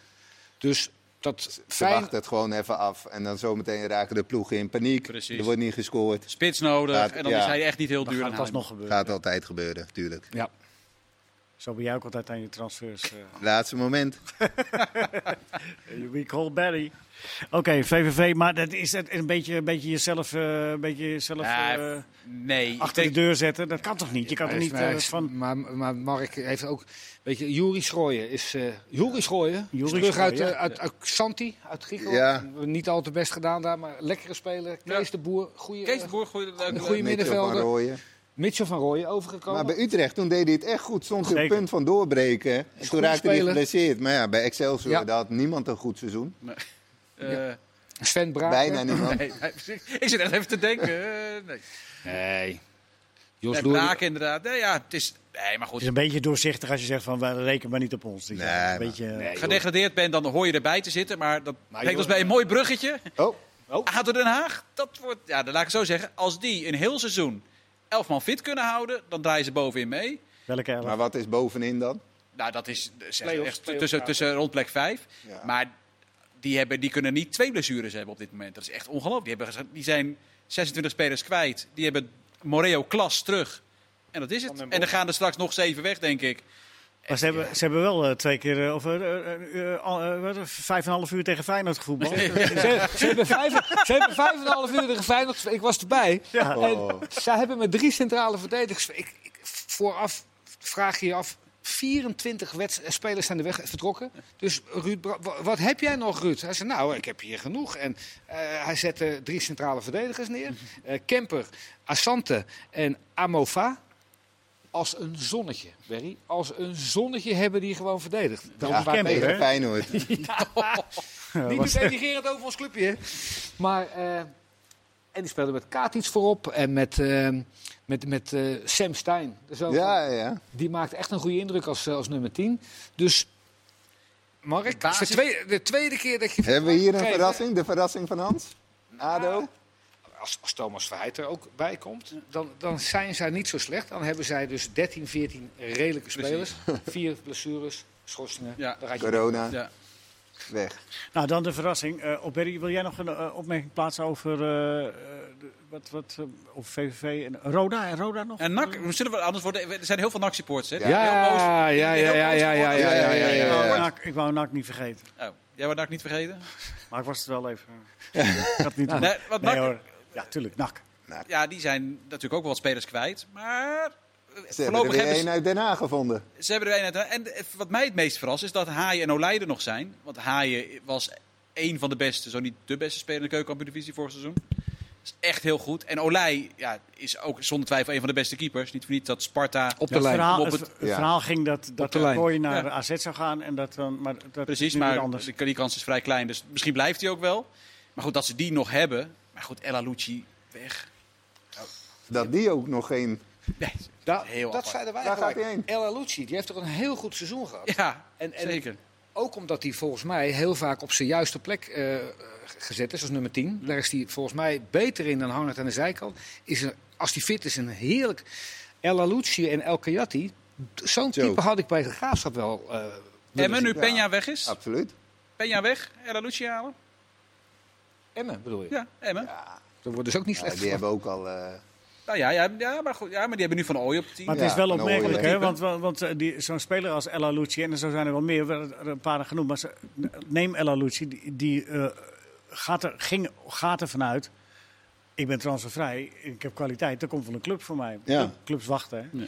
Speaker 4: Dus dat
Speaker 3: Ze
Speaker 4: fijn...
Speaker 3: wachten het gewoon even af en dan zometeen raken de ploegen in paniek.
Speaker 2: Precies.
Speaker 3: Er wordt niet gescoord.
Speaker 2: Spits nodig.
Speaker 3: Laat-
Speaker 2: en dan
Speaker 3: ja.
Speaker 2: is hij echt niet heel
Speaker 1: Dan
Speaker 2: duur.
Speaker 1: gaat
Speaker 2: aan
Speaker 1: het alsnog
Speaker 2: Heineman.
Speaker 1: gebeuren.
Speaker 3: Gaat altijd gebeuren, tuurlijk.
Speaker 4: Ja.
Speaker 1: Zo ben jij ook altijd aan je transfers. eh.
Speaker 3: Laatste moment.
Speaker 1: We call Barry. Oké, VVV, maar dat is het- een beetje, een beetje jezelf, eh, een beetje jezelf
Speaker 2: Ja,
Speaker 1: eh,
Speaker 2: nee, ik
Speaker 1: achter de
Speaker 2: denk,
Speaker 1: deur zetten. Dat kan toch niet? Je kan
Speaker 4: Maar
Speaker 1: er
Speaker 4: is-
Speaker 1: niet
Speaker 4: maar
Speaker 1: eh,
Speaker 4: is-
Speaker 1: van...
Speaker 4: Maar, maar Mark heeft ook. Weet je, Juri Schrooien is. eh Juri Schrooien. is
Speaker 1: Juri
Speaker 4: terug uit,
Speaker 1: Schrooien,
Speaker 4: eh, uit, uit Xanti, uit Griekenland.
Speaker 3: Ja.
Speaker 4: Niet al te best gedaan daar, maar lekkere speler. Kees
Speaker 2: Ja.
Speaker 4: de Boer. Goede.
Speaker 2: Kees de Boer, goeie,
Speaker 4: goeie
Speaker 2: goeie
Speaker 4: min-
Speaker 3: Mitchell
Speaker 4: middenvelder.
Speaker 3: van Rooyen.
Speaker 4: Mitchell van Rooyen overgekomen.
Speaker 3: Maar bij Utrecht, toen deed hij het echt goed. Stond hij op
Speaker 1: Zeker.
Speaker 3: punt van doorbreken. En
Speaker 4: Is
Speaker 3: toen
Speaker 4: goede
Speaker 3: raakte hij
Speaker 4: speler.
Speaker 3: geblesseerd. Maar ja, bij Excelsior
Speaker 4: Ja.
Speaker 3: daar had niemand een goed seizoen.
Speaker 2: eh,
Speaker 4: Sven Braak.
Speaker 3: Bijna niemand.
Speaker 2: nee, nee, precies. ik zit echt even te denken. eh, nee.
Speaker 4: Nee. Jos
Speaker 2: Nee,
Speaker 4: Loer-
Speaker 2: Braak inderdaad. Nee, ja, het is, nee, maar
Speaker 1: Het
Speaker 2: goed.
Speaker 1: is een beetje doorzichtig als je zegt van, wij reken maar niet op ons. Die
Speaker 3: Nee,
Speaker 1: zijn een
Speaker 3: maar-
Speaker 1: beetje, eh,
Speaker 4: Nee, joh.
Speaker 2: Gedegradeerd bent, dan hoor je erbij te zitten. Maar dat
Speaker 4: Maar
Speaker 2: brengt
Speaker 4: joh,
Speaker 2: ons bij een mooi bruggetje.
Speaker 3: Oh,
Speaker 2: ADO Den Haag, dat wordt, ja, dat laat ik het zo zeggen. Als die een heel seizoen elf man fit kunnen houden, dan draaien ze bovenin mee.
Speaker 1: welke elf?
Speaker 3: maar wat is bovenin dan?
Speaker 2: Nou, dat is eh, zeg,
Speaker 4: Play-offs,
Speaker 2: echt
Speaker 4: play-offs,
Speaker 2: tussen,
Speaker 4: ja.
Speaker 2: tussen rond plek 5.
Speaker 3: Ja.
Speaker 2: Maar die, hebben, die kunnen niet twee blessures hebben op dit moment. Dat is echt ongelooflijk. Die, hebben, gezegd- die zijn 26 spelers kwijt. Die hebben Moreo Klas terug. En dat is het. En er gaan er straks nog zeven weg, denk ik.
Speaker 1: Maar ze hebben, ze hebben wel eh, twee keer, eh, of eh, eh, eh, al- eh, wat, eh, vijf en een half uur tegen Feyenoord gevoetbald.
Speaker 4: Ze, ze hebben vijf, ze hebben vijf en een half uur tegen Feyenoord gespeeld. Ik was erbij.
Speaker 1: Ja.
Speaker 3: Oh.
Speaker 4: En zij hebben met drie centrale verdedigers. Ik, ik, vooraf vraag je je af. 24 wedst- eh, spelers zijn de weg vertrokken. Dus Ruud, Bra- wa- wat heb jij nog, Ruud? Hij zei, nou, ik heb hier genoeg. En eh, hij zette drie centrale verdedigers neer. Eh, Kemper, Assante en Amova. Als een zonnetje, Berry. Als een zonnetje hebben die gewoon verdedigd. Daarom
Speaker 3: Ja,
Speaker 4: waren
Speaker 1: Kemper,
Speaker 3: tegen
Speaker 1: hè?
Speaker 3: Feyenoord.
Speaker 4: niet dus
Speaker 1: eh,
Speaker 4: denigrerend over ons clubje. hè. Maar, eh, en die speelde met Kaat iets voorop en met, eh, met, met eh, Sam Stein.
Speaker 3: Ja, ja.
Speaker 4: Die maakt echt een goede indruk als, eh, als nummer 10. Dus, Mark, het is
Speaker 2: basis-
Speaker 4: de tweede, de tweede keer dat je...
Speaker 3: Hebben we hier een
Speaker 4: Geef, hè.
Speaker 3: verrassing? De verrassing van Hans? Ado?
Speaker 4: Als, als Thomas Verheid er ook bij komt, dan, dan zijn zij niet zo slecht. Dan hebben zij dus 13, 14 redelijke spelers. Vier blessures, schorsingen.
Speaker 2: Ja.
Speaker 4: Daar had je-
Speaker 3: Corona,
Speaker 2: Ja.
Speaker 3: weg.
Speaker 1: Nou, dan de verrassing. Eh op wil jij nog een eh, opmerking plaatsen over, eh, eh, de- wat, wat, eh, over VVV en Roda? En Roda nog?
Speaker 2: En NAC, zullen we anders worden? Er zijn heel veel NAC-supporters, hè?
Speaker 3: Ja.
Speaker 4: Ja, ja, ja, ja, ja, ja, ja, ja, ja, ja,
Speaker 1: Ik
Speaker 4: ja.
Speaker 1: wou
Speaker 3: ja.
Speaker 1: NAC- Ik wou NAC niet vergeten,
Speaker 2: Oh, jij wordt NAC niet vergeten?
Speaker 1: maar ik was het wel even. Ik had niet nee,
Speaker 2: Nee, want NAC,
Speaker 1: hoor. Ja, tuurlijk, NAC.
Speaker 2: ja, die zijn natuurlijk ook wel wat spelers kwijt. Maar eh,
Speaker 3: Ze hebben er
Speaker 2: voorlopig
Speaker 3: weer
Speaker 2: hebben
Speaker 3: één
Speaker 2: ze,
Speaker 3: uit Den Haag gevonden.
Speaker 2: ze hebben er een uit- En eh, wat mij het meest verrast is dat Haaien en Oleiden nog zijn. Want Haaien was één van de beste, zo niet de beste speler in de keukenkampioen-divisie vorig seizoen. Dat is echt heel goed. En Olij ja, is ook zonder twijfel een van de beste keepers. Niet voor niet dat Sparta...
Speaker 4: Op de
Speaker 1: Ja, het
Speaker 4: lijn.
Speaker 1: verhaal,
Speaker 2: Op
Speaker 1: het,
Speaker 2: het-
Speaker 1: het
Speaker 3: ja.
Speaker 1: verhaal ging dat, dat
Speaker 4: de
Speaker 1: de
Speaker 4: lijn.
Speaker 1: Kooi naar
Speaker 2: Ja.
Speaker 1: AZ zou gaan en dat dan, maar dat is
Speaker 2: Precies,
Speaker 1: nu weer
Speaker 2: maar
Speaker 1: anders.
Speaker 2: de, die kans is vrij klein. Dus misschien blijft hij ook wel. Maar goed, dat ze die nog hebben. Maar goed, Ella Lucci weg.
Speaker 3: Dat die ook nog geen...
Speaker 2: Nee,
Speaker 4: Da-
Speaker 2: Heel
Speaker 4: dat
Speaker 2: apart.
Speaker 4: zeiden wij
Speaker 3: Waar gaat
Speaker 4: gelijk.
Speaker 3: hij heen?
Speaker 4: El Alucci, die heeft toch een heel goed seizoen gehad.
Speaker 2: ja,
Speaker 4: En- en-
Speaker 2: zeker.
Speaker 4: Ook omdat hij volgens mij heel vaak op zijn juiste plek eh, gezet is, als nummer 10.
Speaker 2: Mm.
Speaker 4: Daar is hij volgens mij beter in dan hangend aan de zijkant. Is een, als hij fit is, een heerlijk... El Alucci en El Kayati, zo'n
Speaker 3: Zo.
Speaker 4: type had ik bij de Graafschap wel... eh, willen
Speaker 2: En maar
Speaker 4: zien.
Speaker 2: nu Peña weg is.
Speaker 3: Absoluut.
Speaker 2: Peña weg, Ella Lucci halen.
Speaker 4: Emmen bedoel je?
Speaker 2: Ja, Emmen.
Speaker 4: Dat wordt dus ook niet
Speaker 3: Ja,
Speaker 4: slecht.
Speaker 3: die hebben ook al... eh,
Speaker 2: Nou ja, ja, ja, maar goed, ja, maar die hebben nu Van Ooy op 10.
Speaker 1: Maar het
Speaker 3: Ja,
Speaker 1: is wel
Speaker 3: een
Speaker 1: opmerkelijk,
Speaker 3: mooie
Speaker 1: hè? Want, want want, eh, die- zo'n speler als Ella Lucci, en zo zijn er wel meer, we hebben er een paar genoemd, maar ze, neem Ella Lucci, die, die eh, gaat, er, ging, gaat er vanuit. Ik ben transfervrij, ik heb kwaliteit, er komt wel een club voor mij.
Speaker 3: Ja.
Speaker 1: Club- Clubs wachten, hè?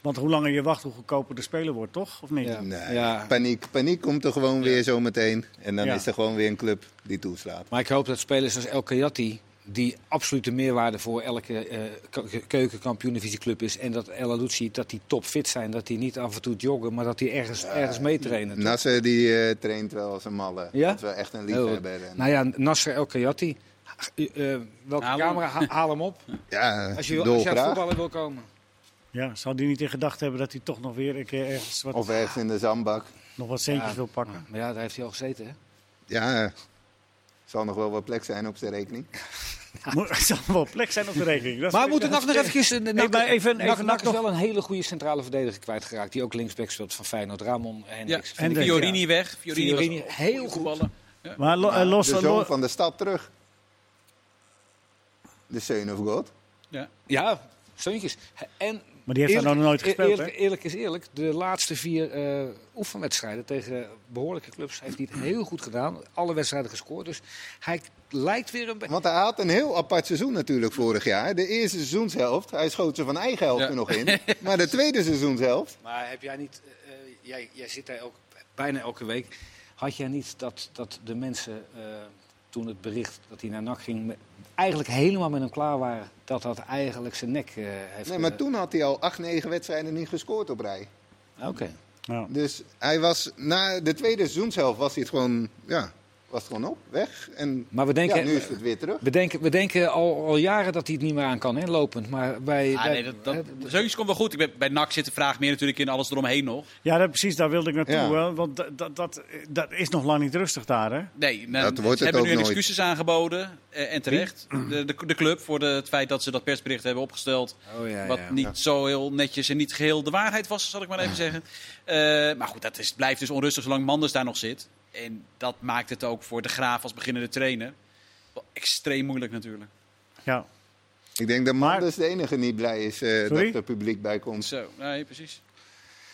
Speaker 1: Want hoe langer je wacht, hoe goedkoper de speler wordt, toch? Of niet?
Speaker 4: Ja.
Speaker 3: Nee,
Speaker 4: Ja.
Speaker 3: paniek. Paniek komt er gewoon weer zo meteen. En dan
Speaker 1: Ja.
Speaker 3: is er gewoon weer een club die toeslaat.
Speaker 4: Maar ik hoop dat spelers als El Kayati, die absolute meerwaarde voor elke eh ke- keukenkampioen-divisieclub is, en dat El Alucci, dat die topfit zijn, dat die niet af en toe joggen, maar dat die ergens, ergens meetrainen.
Speaker 3: Nasser die eh, traint wel als een malle.
Speaker 4: Ja?
Speaker 3: Dat is wel echt een liefhebber. En-
Speaker 4: Nou ja, Nasser El Kayati, eh, eh, welke
Speaker 2: Haal hem.
Speaker 4: camera, Ha- haal hem op
Speaker 3: ja,
Speaker 4: als je, wil, als je uit
Speaker 3: dolgraag.
Speaker 4: voetballen wil komen.
Speaker 1: Ja, zou die niet in gedachten hebben dat hij toch nog weer een keer ergens wat,
Speaker 3: Of ergens in de zandbak.
Speaker 1: nog wat centjes
Speaker 4: Ja.
Speaker 1: wil pakken?
Speaker 4: Maar ja, daar heeft hij al gezeten, hè?
Speaker 3: Ja, eh, zal nog wel wat plek zijn op zijn rekening.
Speaker 1: Moet- Het zal wel plek zijn op de rekening. Dat
Speaker 4: Maar we
Speaker 1: vind ik-
Speaker 4: moeten NAC nog eventjes... eh, NAC-
Speaker 1: maar even-
Speaker 4: NAC-
Speaker 1: even
Speaker 4: NAC
Speaker 1: NAC
Speaker 4: is wel een hele goede centrale verdediger kwijtgeraakt, die ook linksback speelt van Feyenoord, Ramon Hendricks.
Speaker 1: en-
Speaker 4: Ja.
Speaker 1: Hendrik,
Speaker 2: Fiorini weg. Fiorini, was
Speaker 4: Fiorini,
Speaker 2: ook
Speaker 4: heel
Speaker 2: goede
Speaker 4: goed.
Speaker 2: voetballer.
Speaker 1: Maar lo- eh,
Speaker 3: Maar
Speaker 1: los
Speaker 3: de
Speaker 1: van...
Speaker 3: zoon van de stad terug. De Son of God.
Speaker 2: Ja.
Speaker 4: Ja, zoontjes. En
Speaker 1: Maar die heeft daar nog nooit gespeeld,
Speaker 4: Eerlijk, eerlijk is eerlijk, de laatste vier eh, oefenwedstrijden tegen behoorlijke clubs heeft hij het heel goed gedaan. Alle wedstrijden gescoord, dus hij lijkt weer een beetje...
Speaker 3: Want hij had een heel apart seizoen natuurlijk vorig jaar. De eerste seizoenshelft, hij schoot ze van eigen helft
Speaker 2: Ja.
Speaker 3: er nog in. Maar de tweede seizoenshelft,
Speaker 4: Maar heb jij niet, eh, jij, jij zit daar ook bijna elke week. Had jij niet dat, dat de mensen eh, toen het bericht dat hij naar NAC ging, me- eigenlijk helemaal met hem klaar waren dat dat eigenlijk zijn nek eh, heeft.
Speaker 3: nee, maar
Speaker 4: eh,
Speaker 3: toen had hij al acht, negen wedstrijden niet gescoord op rij.
Speaker 4: Oké.
Speaker 1: hè? Ja.
Speaker 3: Dus hij was, na de tweede seizoenshelft was hij het gewoon, ja, was het gewoon op, weg. En
Speaker 4: Maar we denken,
Speaker 3: ja, nu is het weer terug.
Speaker 4: we denken, we denken al, al jaren dat hij het niet meer aan kan, hè, lopend. Maar bij,
Speaker 2: Ah,
Speaker 4: bij-
Speaker 2: nee, dat, dat,
Speaker 4: hè,
Speaker 2: zoiets komt wel goed. Ik ben, bij NAC zit de vraag meer natuurlijk in alles eromheen nog.
Speaker 1: Ja, dat- precies, daar wilde ik naartoe.
Speaker 3: Ja.
Speaker 1: hè, Want dat, dat, dat, dat is nog lang niet rustig daar, hè?
Speaker 2: Nee,
Speaker 3: Dat
Speaker 2: men-
Speaker 3: wordt
Speaker 2: Nou, ze
Speaker 3: het
Speaker 2: hebben
Speaker 3: ook
Speaker 2: nu een
Speaker 3: nooit.
Speaker 2: excuses aangeboden. eh, en terecht. De, de, de club voor de, het feit dat ze dat persbericht hebben opgesteld.
Speaker 4: oh, ja,
Speaker 2: Wat
Speaker 4: ja.
Speaker 2: niet zo heel netjes en niet geheel de waarheid was, zal ik maar even zeggen. Eh, maar goed, dat is, blijft dus onrustig zolang Manders daar nog zit. En dat maakt het ook voor de graaf als beginnende trainer wel extreem moeilijk natuurlijk.
Speaker 1: Ja.
Speaker 3: Ik denk dat
Speaker 1: Maar-
Speaker 3: Manders de enige niet blij is eh,
Speaker 1: Sorry?
Speaker 3: dat er publiek bij komt.
Speaker 2: Zo, nee, precies.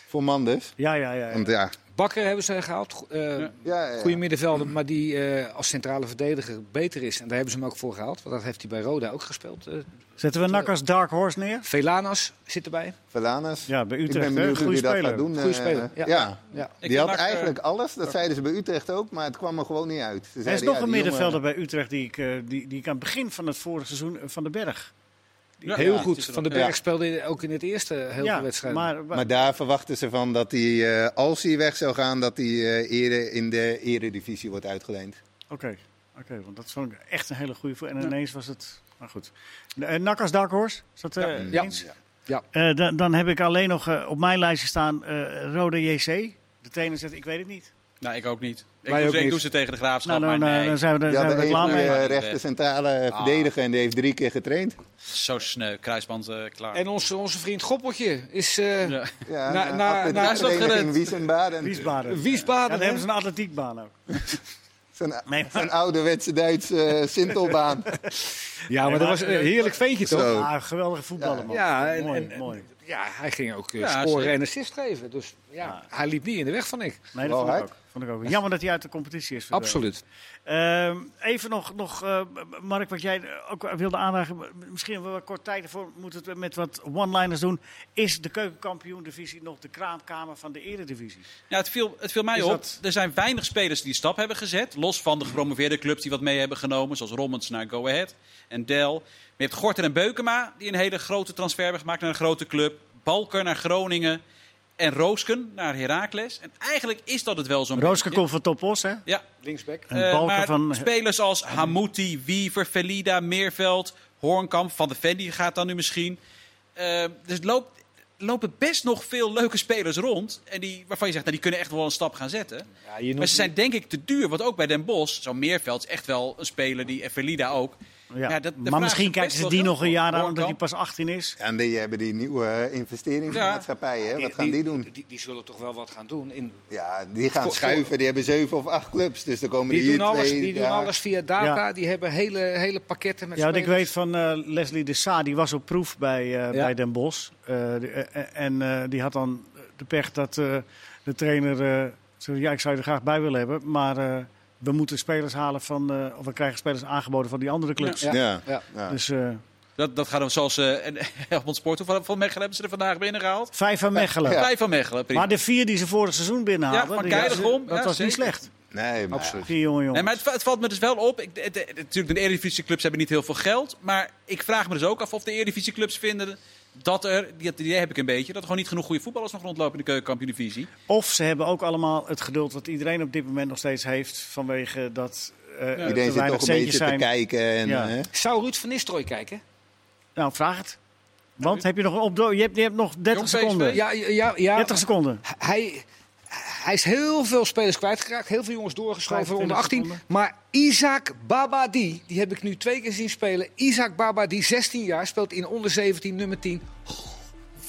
Speaker 3: Voor Manders.
Speaker 1: Ja, ja, ja. ja.
Speaker 3: Want ja,
Speaker 4: Bakker hebben ze gehaald. go- eh,
Speaker 2: Ja.
Speaker 3: ja, ja.
Speaker 4: Goede middenvelder, maar die eh, als centrale verdediger beter is. En daar hebben ze hem ook voor gehaald. Want dat heeft hij bij Roda ook gespeeld. eh,
Speaker 1: Zetten we Nak als Dark Horse neer?
Speaker 4: Velanas zit erbij.
Speaker 3: Verlanas.
Speaker 1: Ja, bij
Speaker 3: Ik ben
Speaker 1: Utrecht, hè?
Speaker 3: benieuwd hoe
Speaker 1: Goede
Speaker 3: die dat gaat
Speaker 1: speler.
Speaker 3: doen.
Speaker 4: Goeie
Speaker 3: eh,
Speaker 4: speler, ja.
Speaker 3: ja.
Speaker 4: Ja.
Speaker 2: Ik
Speaker 3: die
Speaker 2: vind
Speaker 3: had
Speaker 2: NAC, eh,
Speaker 3: eigenlijk alles, dat zeiden ze bij Utrecht ook, maar het kwam er gewoon niet uit. Ze
Speaker 1: Er is
Speaker 3: zeiden,
Speaker 1: nog
Speaker 3: ja,
Speaker 1: een
Speaker 3: die jongen-
Speaker 1: middenvelder bij Utrecht die ik, eh, die, die ik aan het begin van het vorige seizoen eh, van de Berg.
Speaker 2: Ja,
Speaker 4: Heel
Speaker 2: ja, het
Speaker 4: goed.
Speaker 2: is er
Speaker 4: Van
Speaker 2: ook.
Speaker 4: den Berg speelde ook in het eerste heel
Speaker 1: ja,
Speaker 4: veel wedstrijden.
Speaker 1: Maar, maar,
Speaker 3: Maar daar verwachten ze van dat hij, eh, als hij weg zou gaan, dat hij eh, eerder in de eredivisie wordt uitgeleend.
Speaker 1: Oké, oké, want dat is gewoon echt een hele goede voer. En ineens was het. Maar goed. Eh Nak als Dark Horse, is dat eh,
Speaker 2: Ja.
Speaker 4: Ja.
Speaker 1: eens?
Speaker 4: Ja.
Speaker 1: Eh, dan, dan heb ik alleen nog eh, op mijn lijstje staan eh Rode JC. De trainer zegt, ik weet het niet.
Speaker 2: Nou, ik ook niet. Ik,
Speaker 4: Wij
Speaker 2: doe,
Speaker 4: ook
Speaker 2: ik
Speaker 4: niet.
Speaker 2: doe ze tegen de graafschap,
Speaker 1: Nou, dan,
Speaker 2: maar
Speaker 1: eh,
Speaker 2: nee,
Speaker 1: dan zijn we, dan
Speaker 3: Ja,
Speaker 1: zijn we
Speaker 3: de eh,
Speaker 1: er klaar
Speaker 3: een
Speaker 1: mee.
Speaker 2: mee.
Speaker 3: rechter centrale verdediger en die heeft drie keer getraind.
Speaker 2: zo sneu, kruisband eh, klaar.
Speaker 4: En onze, onze vriend Goppeltje is eh
Speaker 2: Ja.
Speaker 3: Ja,
Speaker 4: Na- na-
Speaker 3: atletiek
Speaker 4: na- is dat
Speaker 3: vereniging
Speaker 2: gered?
Speaker 3: Wiesenbaden.
Speaker 1: Wiesbaden. Ja,
Speaker 4: eh, Wiesbaden.
Speaker 1: dan
Speaker 4: hè?
Speaker 1: hebben ze een atletiekbaan ook.
Speaker 3: Zo'n
Speaker 1: Nee, maar,
Speaker 3: zo'n ouderwetse Duitse eh, sintelbaan.
Speaker 4: Ja, maar dat was een heerlijk ventje toch?
Speaker 3: Zo.
Speaker 1: eh, ah, geweldige voetballer, man.
Speaker 4: Ja, en-
Speaker 1: mooi,
Speaker 4: en-
Speaker 1: mooi.
Speaker 4: Ja, hij ging ook eh,
Speaker 2: Ja,
Speaker 4: scoren
Speaker 2: zeker.
Speaker 4: en assist geven. Dus ja, hij liep niet in de weg van ik.
Speaker 1: Nee, dat
Speaker 3: Wel
Speaker 1: vond ik,
Speaker 3: hard.
Speaker 1: ook, vond ik ook. Jammer dat hij uit de competitie is. verdwenen.
Speaker 4: Absoluut.
Speaker 1: Ehm, even nog, nog eh, Mark, wat jij ook wilde aandragen. Misschien hebben we wat kort tijd ervoor. Moeten we het met wat one-liners doen. Is de keukenkampioen-divisie nog de kraamkamer van de eredivisie?
Speaker 2: Ja, het viel, het viel mij
Speaker 1: Is
Speaker 2: op.
Speaker 1: dat-
Speaker 2: Er zijn weinig spelers die stap hebben gezet. Los van de gepromoveerde clubs die wat mee hebben genomen. Zoals Rommens naar Go Ahead en Del. Maar je hebt Gorter en Beukema die een hele grote transfer hebben gemaakt naar een grote club. Balker naar Groningen. En Roosken naar Heracles. En eigenlijk is dat het wel zo'n
Speaker 1: Rooske
Speaker 2: beetje.
Speaker 1: komt van Topos, hè?
Speaker 2: Ja,
Speaker 4: Linksback.
Speaker 1: En
Speaker 2: eh,
Speaker 1: Balken
Speaker 2: maar
Speaker 1: van-
Speaker 2: spelers als Hamouti, Wiever, Felida, Meerveld, Hoornkamp, Van de Ven, die gaat dan nu misschien. Eh, dus loopt, lopen best nog veel leuke spelers rond. En die, waarvan je zegt, nou, die kunnen echt wel een stap gaan zetten.
Speaker 4: Ja, je
Speaker 2: Maar
Speaker 4: noemt,
Speaker 2: ze zijn denk ik te duur. Want ook bij Den Bosch, zo'n Meerveld is echt wel een speler die, en Felida ook.
Speaker 1: Ja.
Speaker 2: Ja, dat- de
Speaker 1: maar
Speaker 2: vraag
Speaker 1: misschien
Speaker 2: is
Speaker 1: kijken ze
Speaker 2: best
Speaker 1: die
Speaker 2: wel
Speaker 1: nog een
Speaker 2: groot.
Speaker 1: jaar aan, omdat hij
Speaker 2: Hoornkamp.
Speaker 1: pas 18 is.
Speaker 3: En die hebben die nieuwe eh, investeringsmaatschappijen. hè? Wat gaan die doen?
Speaker 4: Die, die zullen toch wel wat gaan doen. In,
Speaker 3: Ja, die gaan
Speaker 4: Voor-
Speaker 3: schuiven. Die hebben zeven of acht clubs. Dus er komen
Speaker 4: die
Speaker 3: hier
Speaker 4: doen, alles,
Speaker 3: twee,
Speaker 4: die doen
Speaker 3: ja.
Speaker 4: alles via data.
Speaker 1: Ja.
Speaker 4: Die hebben hele, hele pakketten met
Speaker 1: Ja, want ik
Speaker 4: spelers.
Speaker 1: weet van eh, Leslie de Sa, die was op proef bij, eh,
Speaker 4: Ja.
Speaker 1: bij Den Bosch. Eh, die- eh, en eh, die had dan de pech dat eh, de trainer eh, zei, ja, ik zou je er graag bij willen hebben, maar eh, we moeten spelers halen van, eh, of we krijgen spelers aangeboden van die andere clubs.
Speaker 4: Ja.
Speaker 3: Ja.
Speaker 4: Ja.
Speaker 3: Ja.
Speaker 1: Dus eh,
Speaker 2: Dat, dat gaat dan zoals eh, en Helmond Sport. Hoeveel van Mechelen hebben ze er vandaag binnengehaald?
Speaker 1: vijf van Mechelen.
Speaker 3: Ja.
Speaker 2: Vijf van Mechelen, prima.
Speaker 1: Maar de vier die ze vorig seizoen binnenhaalden,
Speaker 2: Ja, Van
Speaker 1: die-
Speaker 2: Keijligom,
Speaker 1: dat
Speaker 2: ja,
Speaker 1: was niet
Speaker 2: zeker.
Speaker 1: slecht.
Speaker 3: Nee, maar
Speaker 4: Absoluut.
Speaker 1: Die jongen, jongen.
Speaker 2: Nee, maar het, va- het valt me dus wel op. Ik, de, de- de- natuurlijk, de Eredivisieclubs hebben niet heel veel geld. Maar ik vraag me dus ook af of de Eredivisieclubs vinden dat er, die, die heb ik een beetje, dat er gewoon niet genoeg goede voetballers nog rondlopen in de keukenkampioen-divisie.
Speaker 1: Of ze hebben ook allemaal het geduld wat iedereen op dit moment nog steeds heeft, vanwege dat eh, er te
Speaker 3: Iedereen zit
Speaker 1: weinig
Speaker 3: toch een
Speaker 1: centjes
Speaker 3: beetje te
Speaker 1: zijn.
Speaker 3: kijken. En, eh,
Speaker 1: Ja.
Speaker 3: hè?
Speaker 4: Zou Ruud van Nistelrooy kijken?
Speaker 1: Nou, vraag het. Want heb je nog een opdro- je hebt, je hebt nog 30
Speaker 2: Jong PSV?
Speaker 1: seconden.
Speaker 4: Ja, ja, ja.
Speaker 1: 30 seconden.
Speaker 4: Hij, hij is heel veel spelers kwijtgeraakt. Heel veel jongens doorgeschoven
Speaker 1: 25
Speaker 4: onder 18.
Speaker 1: seconden.
Speaker 4: Maar Isaac Babadi, die heb ik nu twee keer zien spelen. Isaac Babadi, 16 jaar, speelt in onder 17, nummer 10. Goh,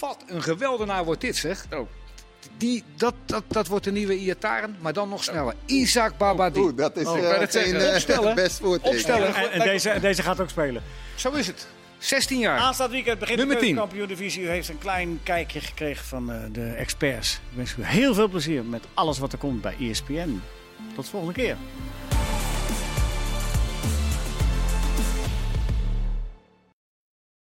Speaker 4: wat een geweldenaar wordt dit, zeg.
Speaker 2: Oh.
Speaker 4: Die, dat, dat, dat wordt de nieuwe Iataren, maar dan nog sneller. Isaac Babadi.
Speaker 3: Oeh, dat is
Speaker 2: Oh, ik
Speaker 3: eh,
Speaker 2: wou net
Speaker 3: geen
Speaker 2: zeggen.
Speaker 3: eh,
Speaker 4: Opstellen.
Speaker 3: best voorteken.
Speaker 4: Opstellen.
Speaker 1: En, en deze, deze gaat ook spelen.
Speaker 4: Zo is het. 16 jaar.
Speaker 1: Aanstaand weekend begint
Speaker 4: Nummer
Speaker 1: de
Speaker 4: 10.
Speaker 1: kampioen divisie. U heeft een klein kijkje gekregen van eh, de E experts. Ik wens u heel veel plezier met alles wat er komt bij ESPN. Tot volgende keer.